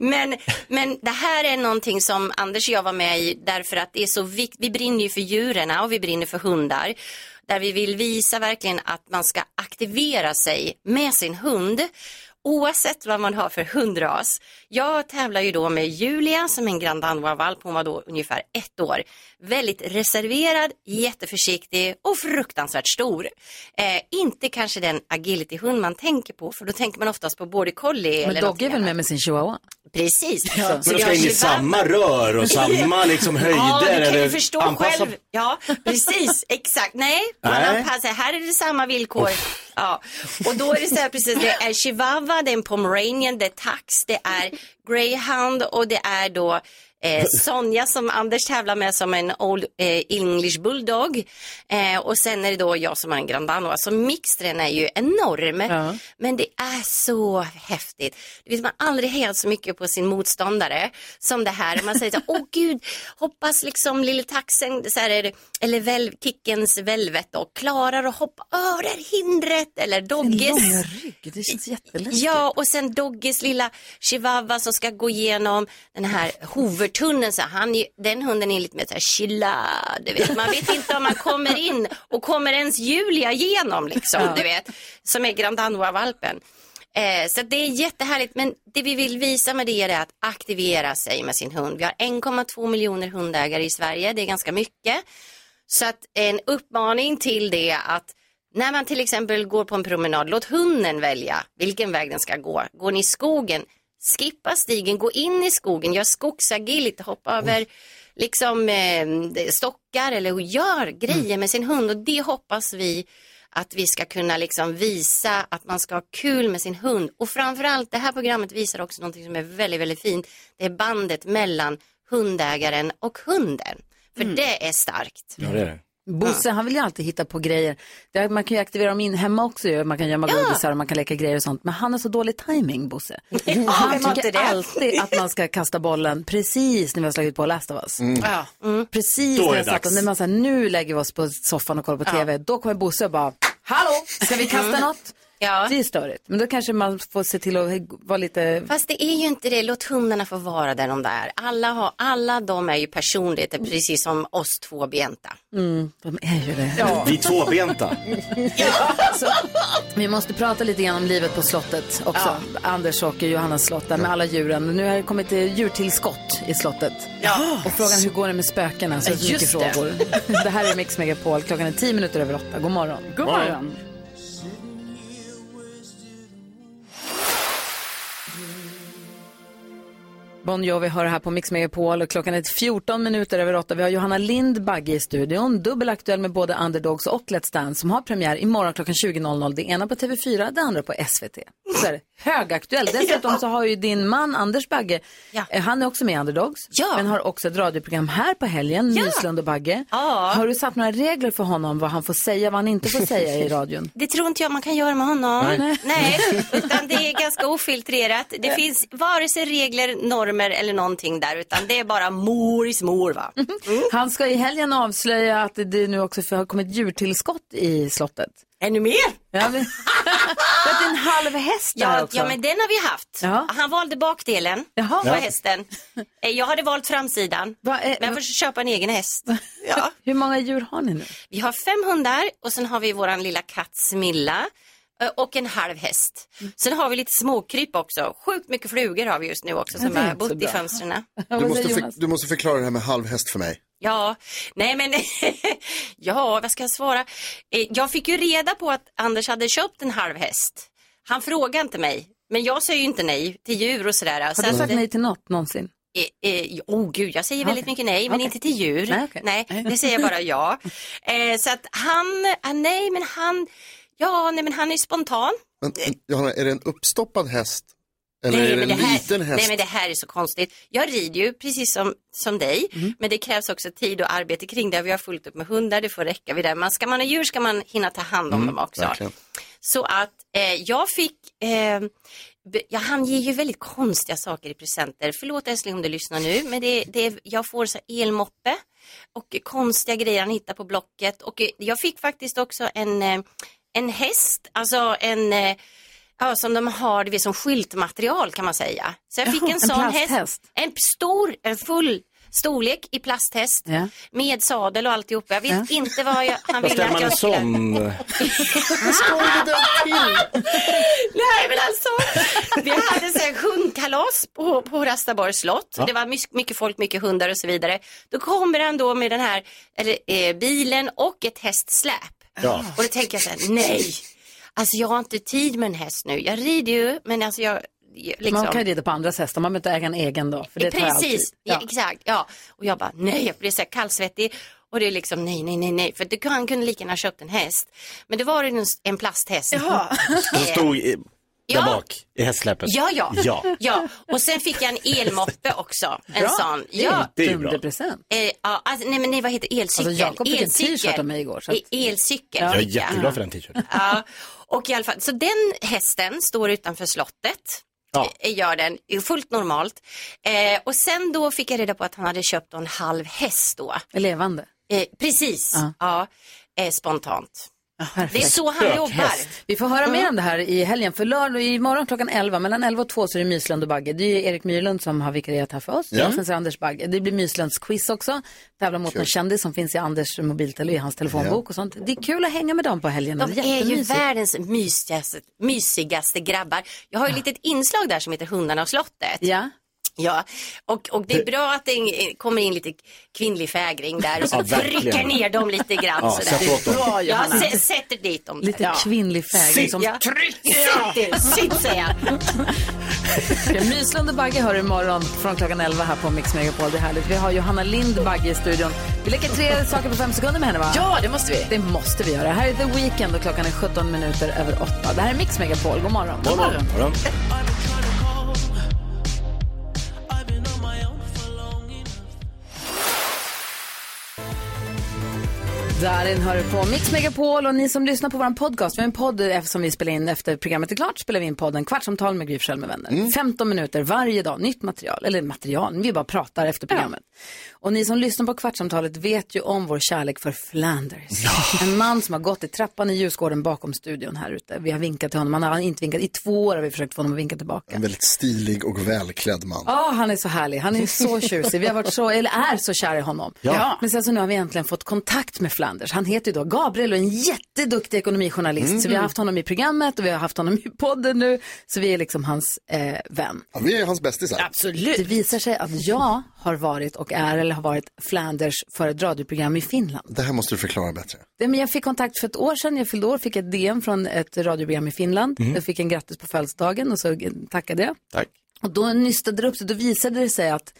Men, men det här är någonting som Anders och jag var med i därför att det är så viktigt. Vi brinner ju för djuren och vi brinner för hundar. Där vi vill visa verkligen att man ska aktivera sig med sin hund. Oavsett vad man har för hundras. Jag tävlar ju då med Julia som är en grand danois-valp. Hon var då ungefär ett år. Väldigt reserverad, jätteförsiktig och fruktansvärt stor. Eh, inte kanske den agility-hund man tänker på för då tänker man oftast på border collie. Men eller Dogge är något väl med med sin chihuahua? Precis. liksom. Ja. Så Men de vi ska har in i Chewbacca. samma rör och samma liksom höjder. Ja, du kan eller ju förstå anpassa- själv. Ja, precis. Exakt. Nej, man Nej. anpassar. Här är det samma villkor. Ja. Och då är det så här precis, det är chihuahua, det är en pomeranian, det är tax, det är greyhound och det är då eh, Sonja som Anders tävlar med som en old eh, English bulldog. Eh, och sen är det då jag som har en grand danois. Så mixtren är ju enorm. Men det är så häftigt. Du vet, man har aldrig hejat så mycket på sin motståndare som det här. Man säger så här, åh gud, hoppas liksom lille taxen, så här är det, eller väl, kickens välvet och klarar att hoppa över hindret eller Långa dogges. rygg, det känns jätteläskigt. Ja, och sen Dogges lilla chihuahua som ska gå igenom den här tunneln så han, är- den hunden är lite mer så här chilla, du vet. Man vet inte om man kommer in och kommer ens Julia igenom liksom, Ja. du vet. Som är grandanoa-valpen. Eh, så det är jättehärligt, men det vi vill visa med det är att aktivera sig med sin hund. Vi har 1,2 miljoner hundägare i Sverige, det är ganska mycket. Så att en uppmaning till det att när man till exempel går på en promenad, låt hunden välja vilken väg den ska gå. Går ni i skogen, skippa stigen, gå in i skogen, gör skogsagility, hoppa över liksom eh, stockar eller gör grejer med sin hund och det hoppas vi att vi ska kunna liksom visa att man ska ha kul med sin hund. Och framförallt det här programmet visar också någonting som är väldigt, väldigt fint. Det är bandet mellan hundägaren och hunden. För det är starkt. Ja, det är det. Bosse, han vill ju alltid hitta på grejer. Det- Man kan ju aktivera dem in hemma också ju. Man kan gömma godisar och man kan leka grejer och sånt. Men han har så dålig timing, Bosse. vem har Han inte tycker det? alltid att man ska kasta bollen precis när vi har slagit på Last of Us. Mm. Ja. Precis Då är när, det jag satt, dags. när man säger nu lägger vi oss på soffan och kollar på TV. Då kommer Bosse och bara, hallå, ska vi kasta Mm. något? Det är störigt. Men då kanske man får se till att vara lite... Fast det är ju inte det, låt hundarna få vara där de där. Alla, har, alla de är ju personligheter precis som oss två benta. Mm, de är ju det. Vi tvåbenta. Så, vi måste prata lite grann om livet på slottet också. Anders och Johannas slott där med alla djuren. Nu har det kommit eh, djurtillskott i slottet. Och frågan hur går det med spökena? Så Ja, det är mycket just det. frågor. Det. här är Mix Megapol. Klockan är tio minuter över åtta. God morgon. God morgon. Bon Jovi hör här på Mix Megapol och klockan är 14 minuter över åtta. Vi har Johanna Lind Bagge i studion, dubbelaktuell med både Underdogs och Let's Dance som har premiär imorgon klockan 20.00. Det ena på TV4, det andra på SVT. Så är det högaktuell. Dessutom så har ju din man Anders Bagge, eh, han är också med i Underdogs, men har också ett radioprogram här på helgen, Nyslund och Bagge. Har du satt några regler för honom vad han får säga, vad han inte får säga i radion? Det tror inte jag man kan göra med honom. Nej. Nej, utan det är ganska ofiltrerat. Det finns vare sig regler, normer eller någonting där, utan det är bara moris mor va. Han ska i helgen avslöja att det nu också har kommit djurtillskott i slottet. Ännu mer? Ja, men... det är en halv häst där Ja, också. ja, men den har vi haft. Han valde bakdelen Jaha. eh, på Ja. hästen. Eh, Jag hade valt framsidan, men jag får köpa en egen häst. Ja. Hur många djur har ni nu? Vi har fem hundar och sen har vi våran lilla katt Smilla eh, och en halv häst. Mm. Sen har vi lite småkryp också. Sjukt mycket flugor har vi just nu också som det är har inte så bott i bra. fönstren. Du måste, för, du måste förklara det här med halv häst för mig. Ja, nej men, ja vad ska jag svara? Eh, Jag fick ju reda på att Anders hade köpt en halv häst. Han frågade inte mig, men jag säger ju inte nej till djur och sådär. Så Har du att- sagt nej till något någonsin? Eh, eh, oh gud, jag säger Ja, väldigt okej. mycket nej, men Okej. inte till djur. Nej, okej. det säger jag bara ja. Eh, så att han, ah, nej men han, ja nej men han är spontan. Men, Johanna, är det en uppstoppad häst? Eller nej, är det men en här, liten häst? nej men det här är så konstigt. Jag rider ju precis som, som dig, Mm. men det krävs också tid och arbete kring det. Vi har fullt upp med hundar, det får räcka vid det. Men ska man ha djur ska man hinna ta hand Mm. om dem också. verkligen. Så att eh, jag fick, eh, be- ja, han ger ju väldigt konstiga saker i presenter. Förlåt älskling om du lyssnar nu, men det, det, jag får så här elmoppe och konstiga grejer han hittar på Blocket. Och eh, jag fick faktiskt också en, eh, en häst, alltså en eh, Ja, som de har det som skyltmaterial kan man säga. Så jag fick Jaha, en, en sån plasthäst. häst. En stor, en full storlek i plasthäst. Ja. Med sadel och alltihopa. Jag vet inte vad jag, Vad han ville ställer att man en jag skulle... sån? eh, Nej men alltså, vi hade så här hundkalas på, på Rastaborgs slott. Ja. Det var mycket, mycket folk, mycket hundar och så vidare. Då kommer han då med den här eller, eh, bilen och ett hästsläp. Ja. Och då tänker jag så här, nej, alltså jag har inte tid med en häst nu. Jag rider ju, men alltså jag... jag- Liksom. Man kan ju rida på andras hästar, man behöver inte äga en egen då. För det tar ju all tid. Precis, ja. exakt. Ja. Och jag bara nej, jag blir så här kallsvettig. Och det är liksom nej, nej, nej, nej. För det, han kunde lika gärna ha köpt en häst. Men det var en, en plasthäst. Eh, Som stod i, där Ja. bak i hästsläpet? Ja, ja, ja. ja. Och sen fick jag en elmoppe också. En Bra. sån. Det är Ja. ett Det är ju bra. dunderpresent. Eh, ja, alltså, nej, men nej, vad heter elcykel? Alltså, Jakob fick en elcykel. t-shirt av mig igår, så att- E- Elcykel. Jag är fick jag. jätteglad för den t-shirten. Ja. Och i alla fall, så den hästen står utanför slottet. Ja. Eh, Gör den, det är fullt normalt. Eh, och sen då fick jag reda på att han hade köpt en halv häst då. Levande. Eh, precis, ja. Eh, spontant. Det är så han jobbar. Mm. Vi får höra mer om det här i helgen. För lördag, imorgon klockan 11, mellan 11 och 2 så är det Myslund och Bagge. Det är ju Erik Myrlund som har vikarierat här för oss. Ja. Sen så är det Anders Bagge. Det blir Myslunds quiz också. Tävla mot Kul. någon kändis som finns i Anders mobiltelefon, i hans telefonbok och sånt. Det är kul att hänga med dem på helgen. De Det är ju jättemysigt. världens mysigaste, mysigaste grabbar. Jag har ju ett litet inslag där som heter Hundarna och slottet. Ja. Ja, och, och det är bra att det in- kommer in lite kvinnlig fägring där och så Ja, verkligen. trycker ner dem lite grann. Ja, sådär. sätt åt dem. Bra, Ja, Johanna. sä- sätter dit dem. där. Lite ja. kvinnlig fägring som Ja. Sitt, du. sitt säger jag. Myslund och Bagge hör du imorgon från klockan 11 här på Mix Megapol. Det är härligt. Vi har Johanna Lind Bagge i studion. Vi leker tre saker på fem sekunder med henne va? Ja, det måste vi. Det måste vi göra. Här är The Weeknd och klockan är 17 minuter över 8. Det här är Mix Megapol. God morgon. God morgon. God morgon. Darin hör du på Mix Megapol och ni som lyssnar på vår podcast. Vi har en podd eh, som vi spelar in efter programmet är klart. Spelar vi in podden Kvartsamtal med Gry Forssell med vänner. 15 minuter varje dag, nytt material. Eller material, vi bara pratar efter programmet. Och ni som lyssnar på Kvartsamtalet vet ju om vår kärlek för Flanders. En man som har gått i trappan i Djurgården bakom studion här ute. Vi har vinkat till honom, han har inte vinkat. I två år har vi försökt få honom att vinka tillbaka. En väldigt stilig och välklädd man. Ja, han är så härlig. Han är så tjusig. Vi har varit så, eller är så kära i honom. Ja. Men sen så nu har vi äntligen fått kontakt med Flanders. Han heter ju då Gabriel och är en jätteduktig ekonomijournalist. Så vi har haft honom i programmet och vi har haft honom i podden nu. Så vi är liksom hans eh, vän. Ja, vi är hans bästisar. Absolut. Det visar sig att jag har varit och är eller har varit Flanders för ett radioprogram i Finland. Det här måste du förklara bättre. Ja, men Jag fick kontakt för ett år sedan, jag fyllde år, fick ett DM från ett radioprogram i Finland. Mhm. Mm. Jag fick en grattis på födelsedagen och så eh, tackade jag. Tack. Och då nystade det upp sig, då visade det sig att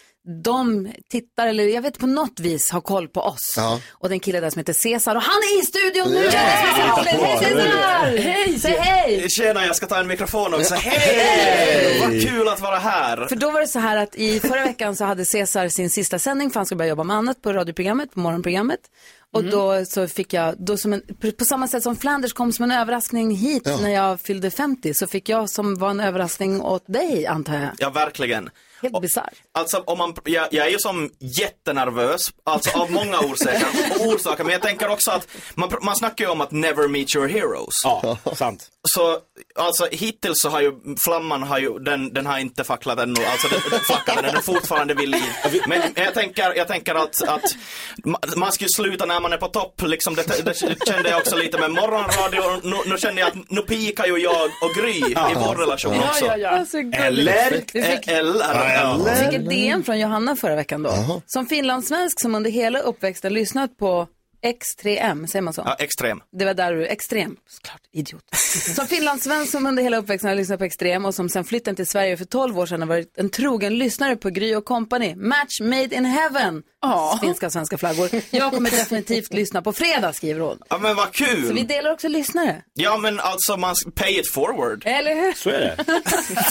de tittar, eller jag vet på något vis, har koll på oss. Och den killen där som heter Cesar, och han är i studion nu! Yeah! Cesar! Titta på, Hej nu är det. Cesar! Hej! Säg hej! Tjena, jag ska ta en mikrofon också. Hej! Vad kul att vara här. För då var det så här att i förra veckan så hade Cesar sin sista sändning för han skulle börja jobba med annat på radioprogrammet, på morgonprogrammet. Och Mm. då så fick jag, då som en, på- på samma sätt som Flanders kom som en överraskning hit när jag fyllde 50 så fick jag som var en överraskning åt dig antar jag. Ja, verkligen. Helt bisarrt. Alltså, om man, jag, jag är ju som jättenervös, alltså av många orsaker. Och orsaker men jag tänker också att man, pr- man snackar ju om att never meet your heroes. Ja, sant. Så alltså hittills så har ju flamman har ju, den, den har inte facklat ännu, alltså den, den flackar men den är fortfarande vid liv. Men jag tänker, jag tänker att, att ma- man ska ju sluta när man är på topp liksom, det, det kände jag också lite med morgonradio, nu, nu känner jag att nu pikar ju jag och Gry i vår relation Ja, också. ja, ja. Alltså, gulligt. Eller, Vi fick- eller, Jag fick ett eller. DM från Johanna förra veckan då. Som finlandssvensk som under hela uppväxten lyssnat på X3M, säger man så? Ja, extrem. Det var där du, extrem, såklart, idiot. Som finlandssvensk som under hela uppväxten har lyssnat på extrem och som sen flyttade till Sverige för 12 år sedan har varit en trogen lyssnare på Gry och Company. Match made in heaven! Finska och svenska flaggor. Jag kommer definitivt lyssna på fredag, skriver hon. Ja men vad Så vi kul! delar också lyssnare. Ja men alltså man, s- pay it forward. Eller hur? Så är det.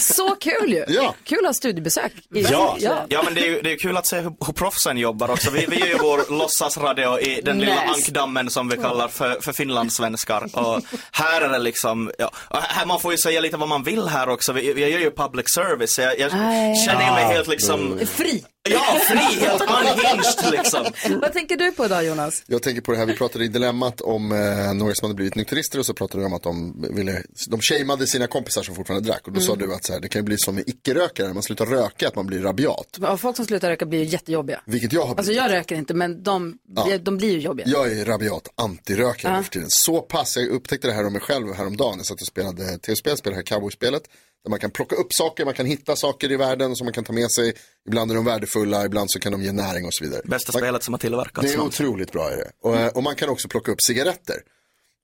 Så kul ju! Ja. Kul att ha studiebesök. i- Ja. ja, men det är ju det är kul att se hur, hur proffsen jobbar också. Vi, vi gör ju vår låtsasradio i den lilla Nice. ankdammen som vi kallar för, för finlandssvenskar. Och här är det liksom, ja, och här, man får ju säga lite vad man vill här också. Vi, vi gör ju public service. så Jag, jag Nej. känner ju mig helt liksom, Fri. ja, fri, helt unhinged liksom. Vad tänker du på idag Jonas? Jag tänker på det här, vi pratade i Dilemmat om eh, några som hade blivit nykterister och så pratade vi om att de ville, de shameade sina kompisar som fortfarande drack och då sa Mm. du att så här, det kan ju bli som med icke-rökare, när man slutar röka, att man blir rabiat. Ja, Folk som slutar röka blir ju jättejobbiga. Vilket jag har Alltså jag röker inte men de, Ja. de blir ju jobbiga. Jag är rabiat antirökare Ja. nu för tiden. Så pass, jag upptäckte det här om mig själv häromdagen. Jag satt och spelade tv-spel, spelade det här cowboyspelet. Där man kan plocka upp saker, man kan hitta saker i världen som man kan ta med sig. Ibland är de värdefulla, ibland så kan de ge näring och så vidare. Bästa spelet som har tillverkats. Det är otroligt bra är det. Och, eh, och man kan också plocka upp cigaretter.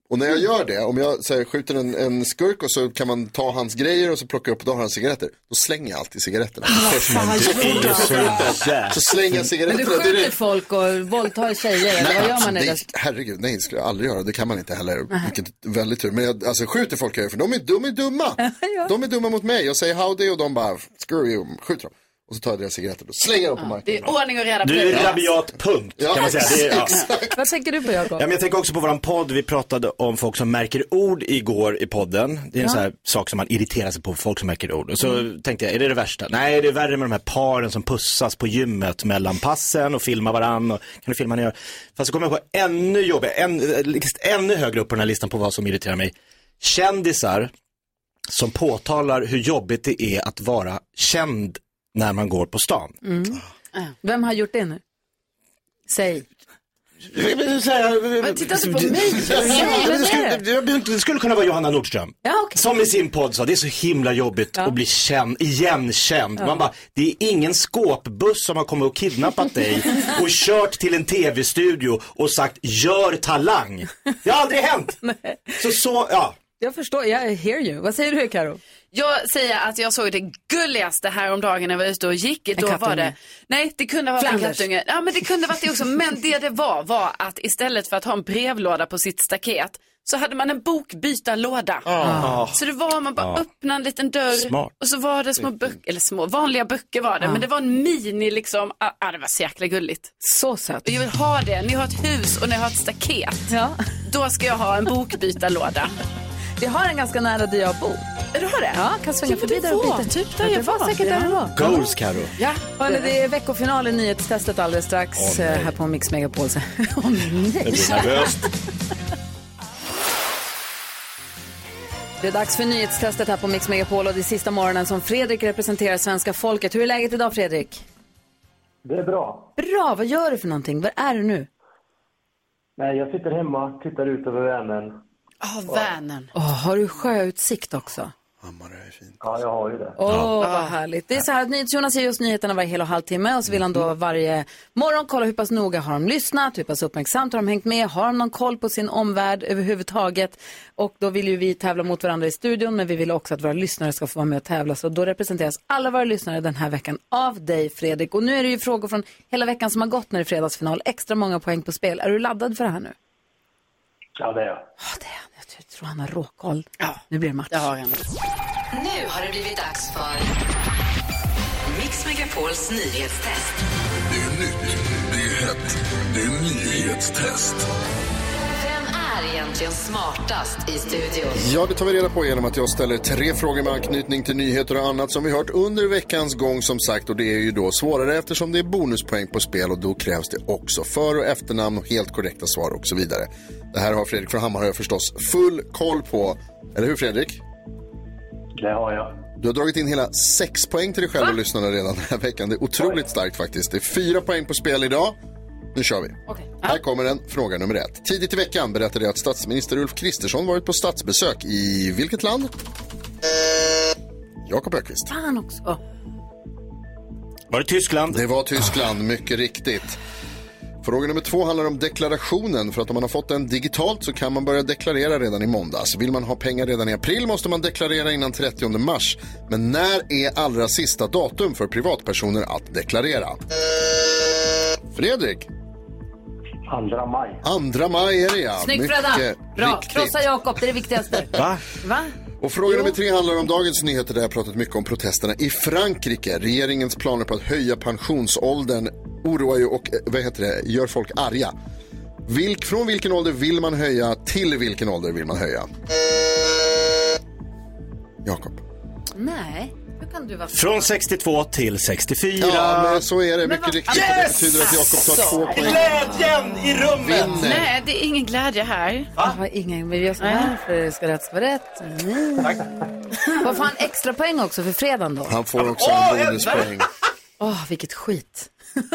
Och när jag gör det, om jag så här, skjuter en, en skurk och så kan man ta hans grejer och så plocka upp, då har han cigaretter. Då slänger jag alltid cigaretterna. Ah, Först när jag vad dricker. fult. Så är det- Så slänger jag Men du cigaretterna skjuter direkt. folk och våldtar tjejer eller vad gör alltså, man? det, i det? herregud, nej, det skulle jag aldrig göra. Det kan man inte heller. Nej. Vilket väldigt tur. Men jag, alltså, skjuter folk gör jag, för de är, de är dumma. De är dumma mot mig. Jag säger howdy och de bara, screw you, skjuter dem. Och så tar jag deras cigaretter och slänger dem på marken. Det är ordning och reda på Du är det. rabiat punkt kan man säga. Det är, ja. Vad tänker du på Ja, Jakob? men jag tänker också på våran podd, vi pratade om folk som märker ord igår i podden. Det är en Ja. sån här sak som man irriterar sig på, folk som märker ord. Och så tänkte jag, är det det värsta? Nej, det är värre med de här paren som pussas på gymmet mellan passen och filmar varann. Och, kan du filma ner? Fast så kommer jag på ännu jobbigare, än, ännu högre upp på den här listan på vad som irriterar mig. Kändisar som påtalar hur jobbigt det är att vara känd när man går på stan. Mm. Vem har gjort det nu? Säg. Men titta inte Alltså, på mig. Säg, Det vem är det? skulle, det skulle kunna vara Johanna Nordström. Ja, okej. Som i sin podd sa, det är så himla jobbigt att bli känd, igenkänd. Ja. Man bara, det är ingen skåpbuss som har kommit och kidnappat dig och kört till en tv-studio och sagt gör talang. Det har aldrig hänt. så så, ja. Jag förstår, jag hear you. Vad säger du Karo? Jag säger att jag såg det gulligaste häromdagen när jag var ute och gick. En Då var kattunge. det, nej det kunde ha varit en Flanders. kattunge. Ja men det kunde ha varit det också. Men det det var var att istället för att ha en brevlåda på sitt staket så hade man en bokbytarlåda. Ah. Så det var, man bara Ah. öppnade en liten dörr Smart. och så var det små böcker, eller små, vanliga böcker var det. Ah. Men det var en mini liksom, ah, ah, det var så jäkla gulligt. Så sött. Jag vill ha det, ni har ett hus och ni har ett staket. Då ska jag ha en bokbytarlåda. Vi har en ganska nära där jag bor. Du har det? Ja, kan svänga Jo, förbi det där och var byta. typ där ja, jag det var. var. säkert där Ja. du var. Goals Karo. Ja, Hörrni, det är veckofinal i nyhetstestet alldeles strax Åh, nej. eh, här på Mix Megapol. Så- Åh nej. Jag blir nervös. Det är dags för nyhetstestet här på Mix Megapol och det är sista morgonen som Fredrik representerar svenska folket. Hur är läget idag Fredrik? Det är bra. Bra, vad gör du för någonting? Var är du nu? Nej, jag sitter hemma, tittar ut över Vänern. Ja, oh, Vänern. Åh, har du sjöutsikt också? Ja, jag har ju det. Åh, vad härligt. Det är så här att NyhetsJonas ger just nyheterna varje hel och halvtimme och så vill han då varje morgon kolla hur pass noga har de lyssnat, hur pass uppmärksamt har de hängt med, har de någon koll på sin omvärld överhuvudtaget. Och då vill ju vi tävla mot varandra i studion men vi vill också att våra lyssnare ska få vara med och tävla. Så då representeras alla våra lyssnare den här veckan av dig Fredrik. Och nu är det ju frågor från hela veckan som har gått när det är fredagsfinal. Extra många poäng på spel. Är du laddad för det här nu? Ja, det är jag. Jag tror han har råkoll. Nu blir det match. Nu har det blivit dags för Mix Megapols nyhetstest. Det är nytt, det är hett, det är nyhetstest. Vem är egentligen smartast i studion? Ja, det tar vi reda på genom att jag ställer tre frågor med anknytning till nyheter och annat som vi hört under veckans gång som sagt. Och det är ju då svårare eftersom det är bonuspoäng på spel och då krävs det också för och efternamn och helt korrekta svar och så vidare. Det här har Fredrik från Hammarö förstås full koll på. Eller hur Fredrik? Det har jag. Du har dragit in hela sex poäng till dig själv och lyssnarna redan den här veckan. Det är otroligt starkt faktiskt. Det är fyra poäng på spel idag. Nu kör vi. Här kommer den, fråga nummer ett. Tidigt i veckan berättade jag att statsminister Ulf Kristersson varit på statsbesök i vilket land? Jakob Ökvist. Fan också. Åh. Var det Tyskland? Det var Tyskland, mycket riktigt. Fråga nummer två handlar om deklarationen. För att om man har fått den digitalt så kan man börja deklarera redan i måndags. Vill man ha pengar redan i april måste man deklarera innan 30 mars. Men när är allra sista datum för privatpersoner att deklarera? Fredrik? Andra maj. Andra maj är det ja. Snyggt Mycket Fredda! Bra! riktigt. Krossa Jakob, det är det viktigaste. Va? Va? Och fråga nummer tre handlar om Dagens Nyheter där jag har pratat mycket om protesterna i Frankrike. Regeringens planer på att höja pensionsåldern oroar ju och eh, vad heter det, gör folk arga. Vilk, från vilken ålder vill man höja till vilken ålder vill man höja? Jakob. Nej, hur kan du vara Från 62 till 64. Ja, men så är det. Men Mycket vad- riktigt. Yes! Det betyder att Jakob tar två Alltså, poäng. Glädjen i rummet! Nej, det är ingen glädje här. Jag har ingen, men jag ska varför ska rätt ska vara rätt. Nej. Vad fan extra poäng också för fredagen då? Han får också en bonuspoäng. Åh, vilket skit.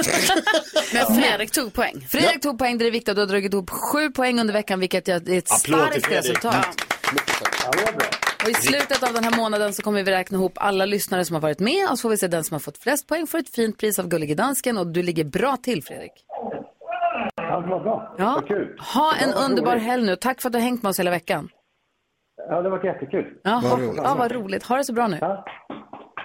Men Fredrik tog poäng. Fredrik tog poäng, det är viktigt. Du har dragit ihop sju poäng under veckan, vilket jag- det är ett starkt resultat. Och i slutet av den här månaden så kommer vi räkna ihop alla lyssnare som har varit med och så får vi se den som har fått flest poäng får ett fint pris av Gullige Dansken och du ligger bra till Fredrik. Ja, det var bra. Ja. Vad kul. Ha en Ja, vad underbar roligt. helg nu. Tack för att du har hängt med oss hela veckan. Ja, det var jättekul. Ja, vad roligt. Ja, vad roligt. Ha det så bra nu.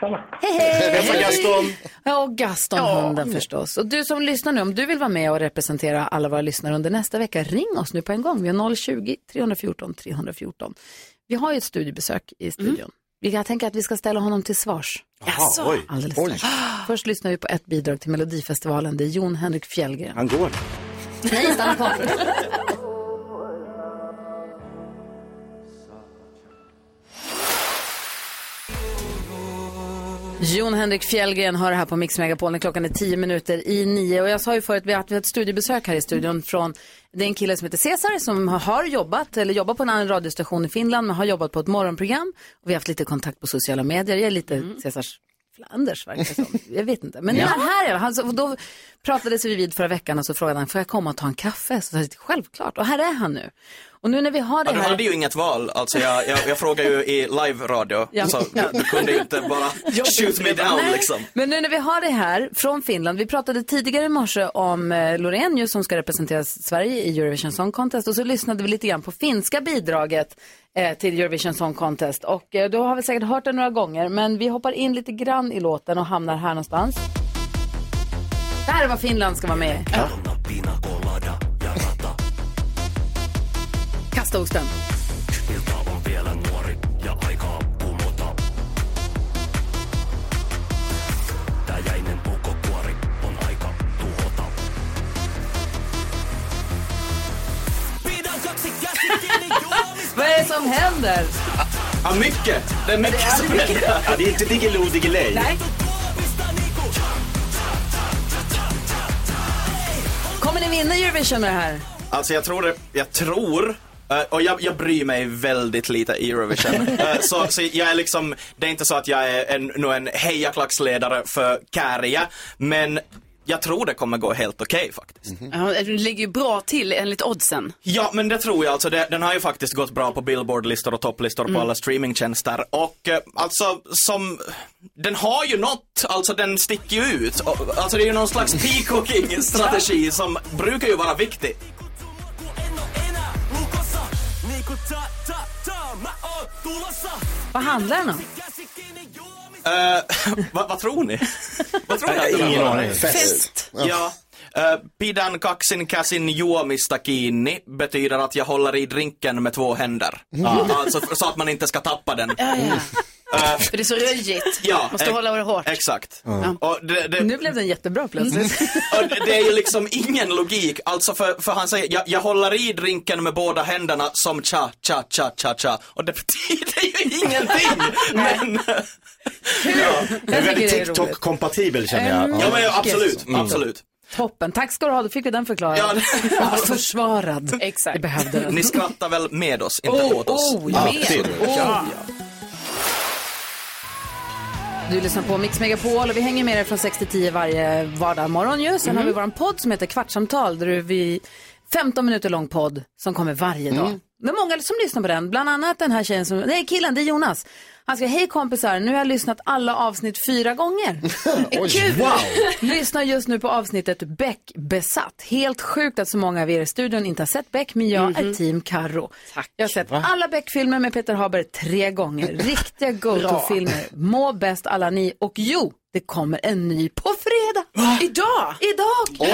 Hej, hej! Hej. Hälsa Gaston. Ja, och Gaston, hunden förstås. Och du som lyssnar nu, om du vill vara med och representera alla våra lyssnare under nästa vecka, ring oss nu Mm. på en gång. Vi har 020-314 314. Vi har ju ett studiebesök i studion. Jag tänker att vi ska ställa honom till svars. Jaså? oj. Alldeles Oj. strax. Först lyssnar vi på ett bidrag till Melodifestivalen. Det är Jon Henrik Fjällgren. Han går. Nej, stanna på. Jon Henrik Fjällgren hör det här på Mix Megapol när klockan är tio minuter i nio. Och jag sa ju förut att vi har haft ett studiebesök här i studion från, det är en kille som heter Cesar som har jobbat, eller jobbar på en annan radiostation i Finland, men har jobbat på ett morgonprogram. Och vi har haft lite kontakt på sociala medier. Jag är lite Cesars Flanders verkar det som. Jag vet inte. Men Ja. nu är han här. är Han, så, och då pratades vi vid förra veckan och så frågade han, får jag komma och ta en kaffe? Så sa jag, självklart. Och här är han nu. Och nu när vi har det Ja, du här. hade ju inget val, alltså jag, jag, jag frågade ju i live-radio, Ja. så du, du kunde ju inte bara shoot me down liksom. Men nu när vi har det här från Finland, vi pratade tidigare i morse om eh, Loreen ju som ska representera Sverige i Eurovision Song Contest och så lyssnade vi lite grann på finska bidraget eh, till Eurovision Song Contest och eh, då har vi säkert hört det några gånger men vi hoppar in lite grann i låten och hamnar här någonstans. Där var Finland ska vara med. Kasta osten. Vad är det som händer? Ja, mycket! Det är mycket som händer. Ja, det är inte Diggiloo Diggiley. Nej. Kommer ni vinna Eurovision med det här? Alltså jag tror det, jag tror eh, och jag, jag bryr mig väldigt lite i Eurovision. Eh, så, så jag är liksom, det är inte så att jag är en, nu en hejaklacksledare för Kärja, men jag tror det kommer gå helt okej faktiskt. Mhm. Ja, du ligger ju bra till enligt oddsen. Ja, men det tror jag. Alltså, det, den har ju faktiskt gått bra på Billboard-listor och topplistor Mm. på alla streamingtjänster. Och eh, alltså, som... Den har ju något, alltså den sticker ju ut. Och, Alltså det är ju någon slags peacocking-strategi som brukar ju vara viktig. Vad handlar den om? Eh, vad, vad tror ni? vad tror ni att det Ingen var? aning. Fest. Ja. Eh, pidän kaksin käsin juomista kiinni betyder att jag håller i drinken med två händer. Ja, alltså, för- så att man inte ska tappa den. Mm. Eh, Ja, ja. För det är så röjigt. Ja, Måste eh, hålla det hårt. Exakt. Ja. Och det, Mm. det, Nu blev den jättebra Mm. plötsligt. och det- det är ju liksom ingen logik, alltså för, för han säger jag, jag håller i drinken med båda händerna som cha, cha, cha, cha, cha. Och det betyder ju ingenting. men... Jag tycker det är roligt. TikTok-kompatibel känner jag. Ja, men Mycket. absolut, Mm. absolut. Toppen. Tack ska du ha, då fick vi den förklarad. Ja, Ja, Försvarad. Exakt. Det behövde den. Ni skrattar väl med oss, inte Oh, åt oss? oh, ja. Alltid. Oh, ja. Du lyssnar på Mix Megapol och vi hänger med er från 6 till 10 varje vardagsmorgon ju. Sen Mhm. har vi vår podd som heter Kvartsamtal där vi 15 minuter lång podd som kommer varje dag. Mm. Det är många som lyssnar på den, bland annat den här tjejen som, nej killen, det är Jonas. Han ska, hej kompisar, nu har jag lyssnat alla avsnitt fyra gånger. Oj, Kul! wow. Lyssnar just nu på avsnittet Beck besatt. Helt sjukt att så många av er i studion inte har sett Beck, men jag är Mhm. team Karo. Jag har sett Va? alla Beck-filmer med Peter Haber tre gånger. Riktiga go-to-filmer. Må bäst alla ni. Och jo, det kommer en ny på fredag. Idag! Idag!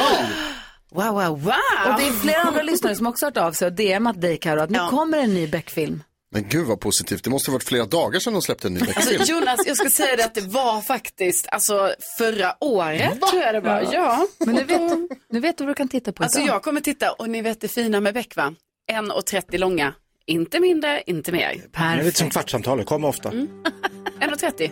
Wow, wow, wow! Och det är flera andra lyssnare som också har hört av sig och DMat dig Karo att nu kommer en ny Beck-film. Men gud vad positivt. Det måste ha varit flera dagar sedan de släppte en ny Alltså, Beck-film. Jonas, jag ska säga det att det var faktiskt alltså, förra året. Va? Tror jag det var. Ja. Men nu vet, du- nu vet du vad du kan titta på Alltså idag. jag kommer titta och ni vet det fina med Beck va? 1,30 långa. Inte mindre, inte mer. Perfekt. Det är lite som kvartssamtalet, kom ofta. 1,30.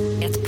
Ett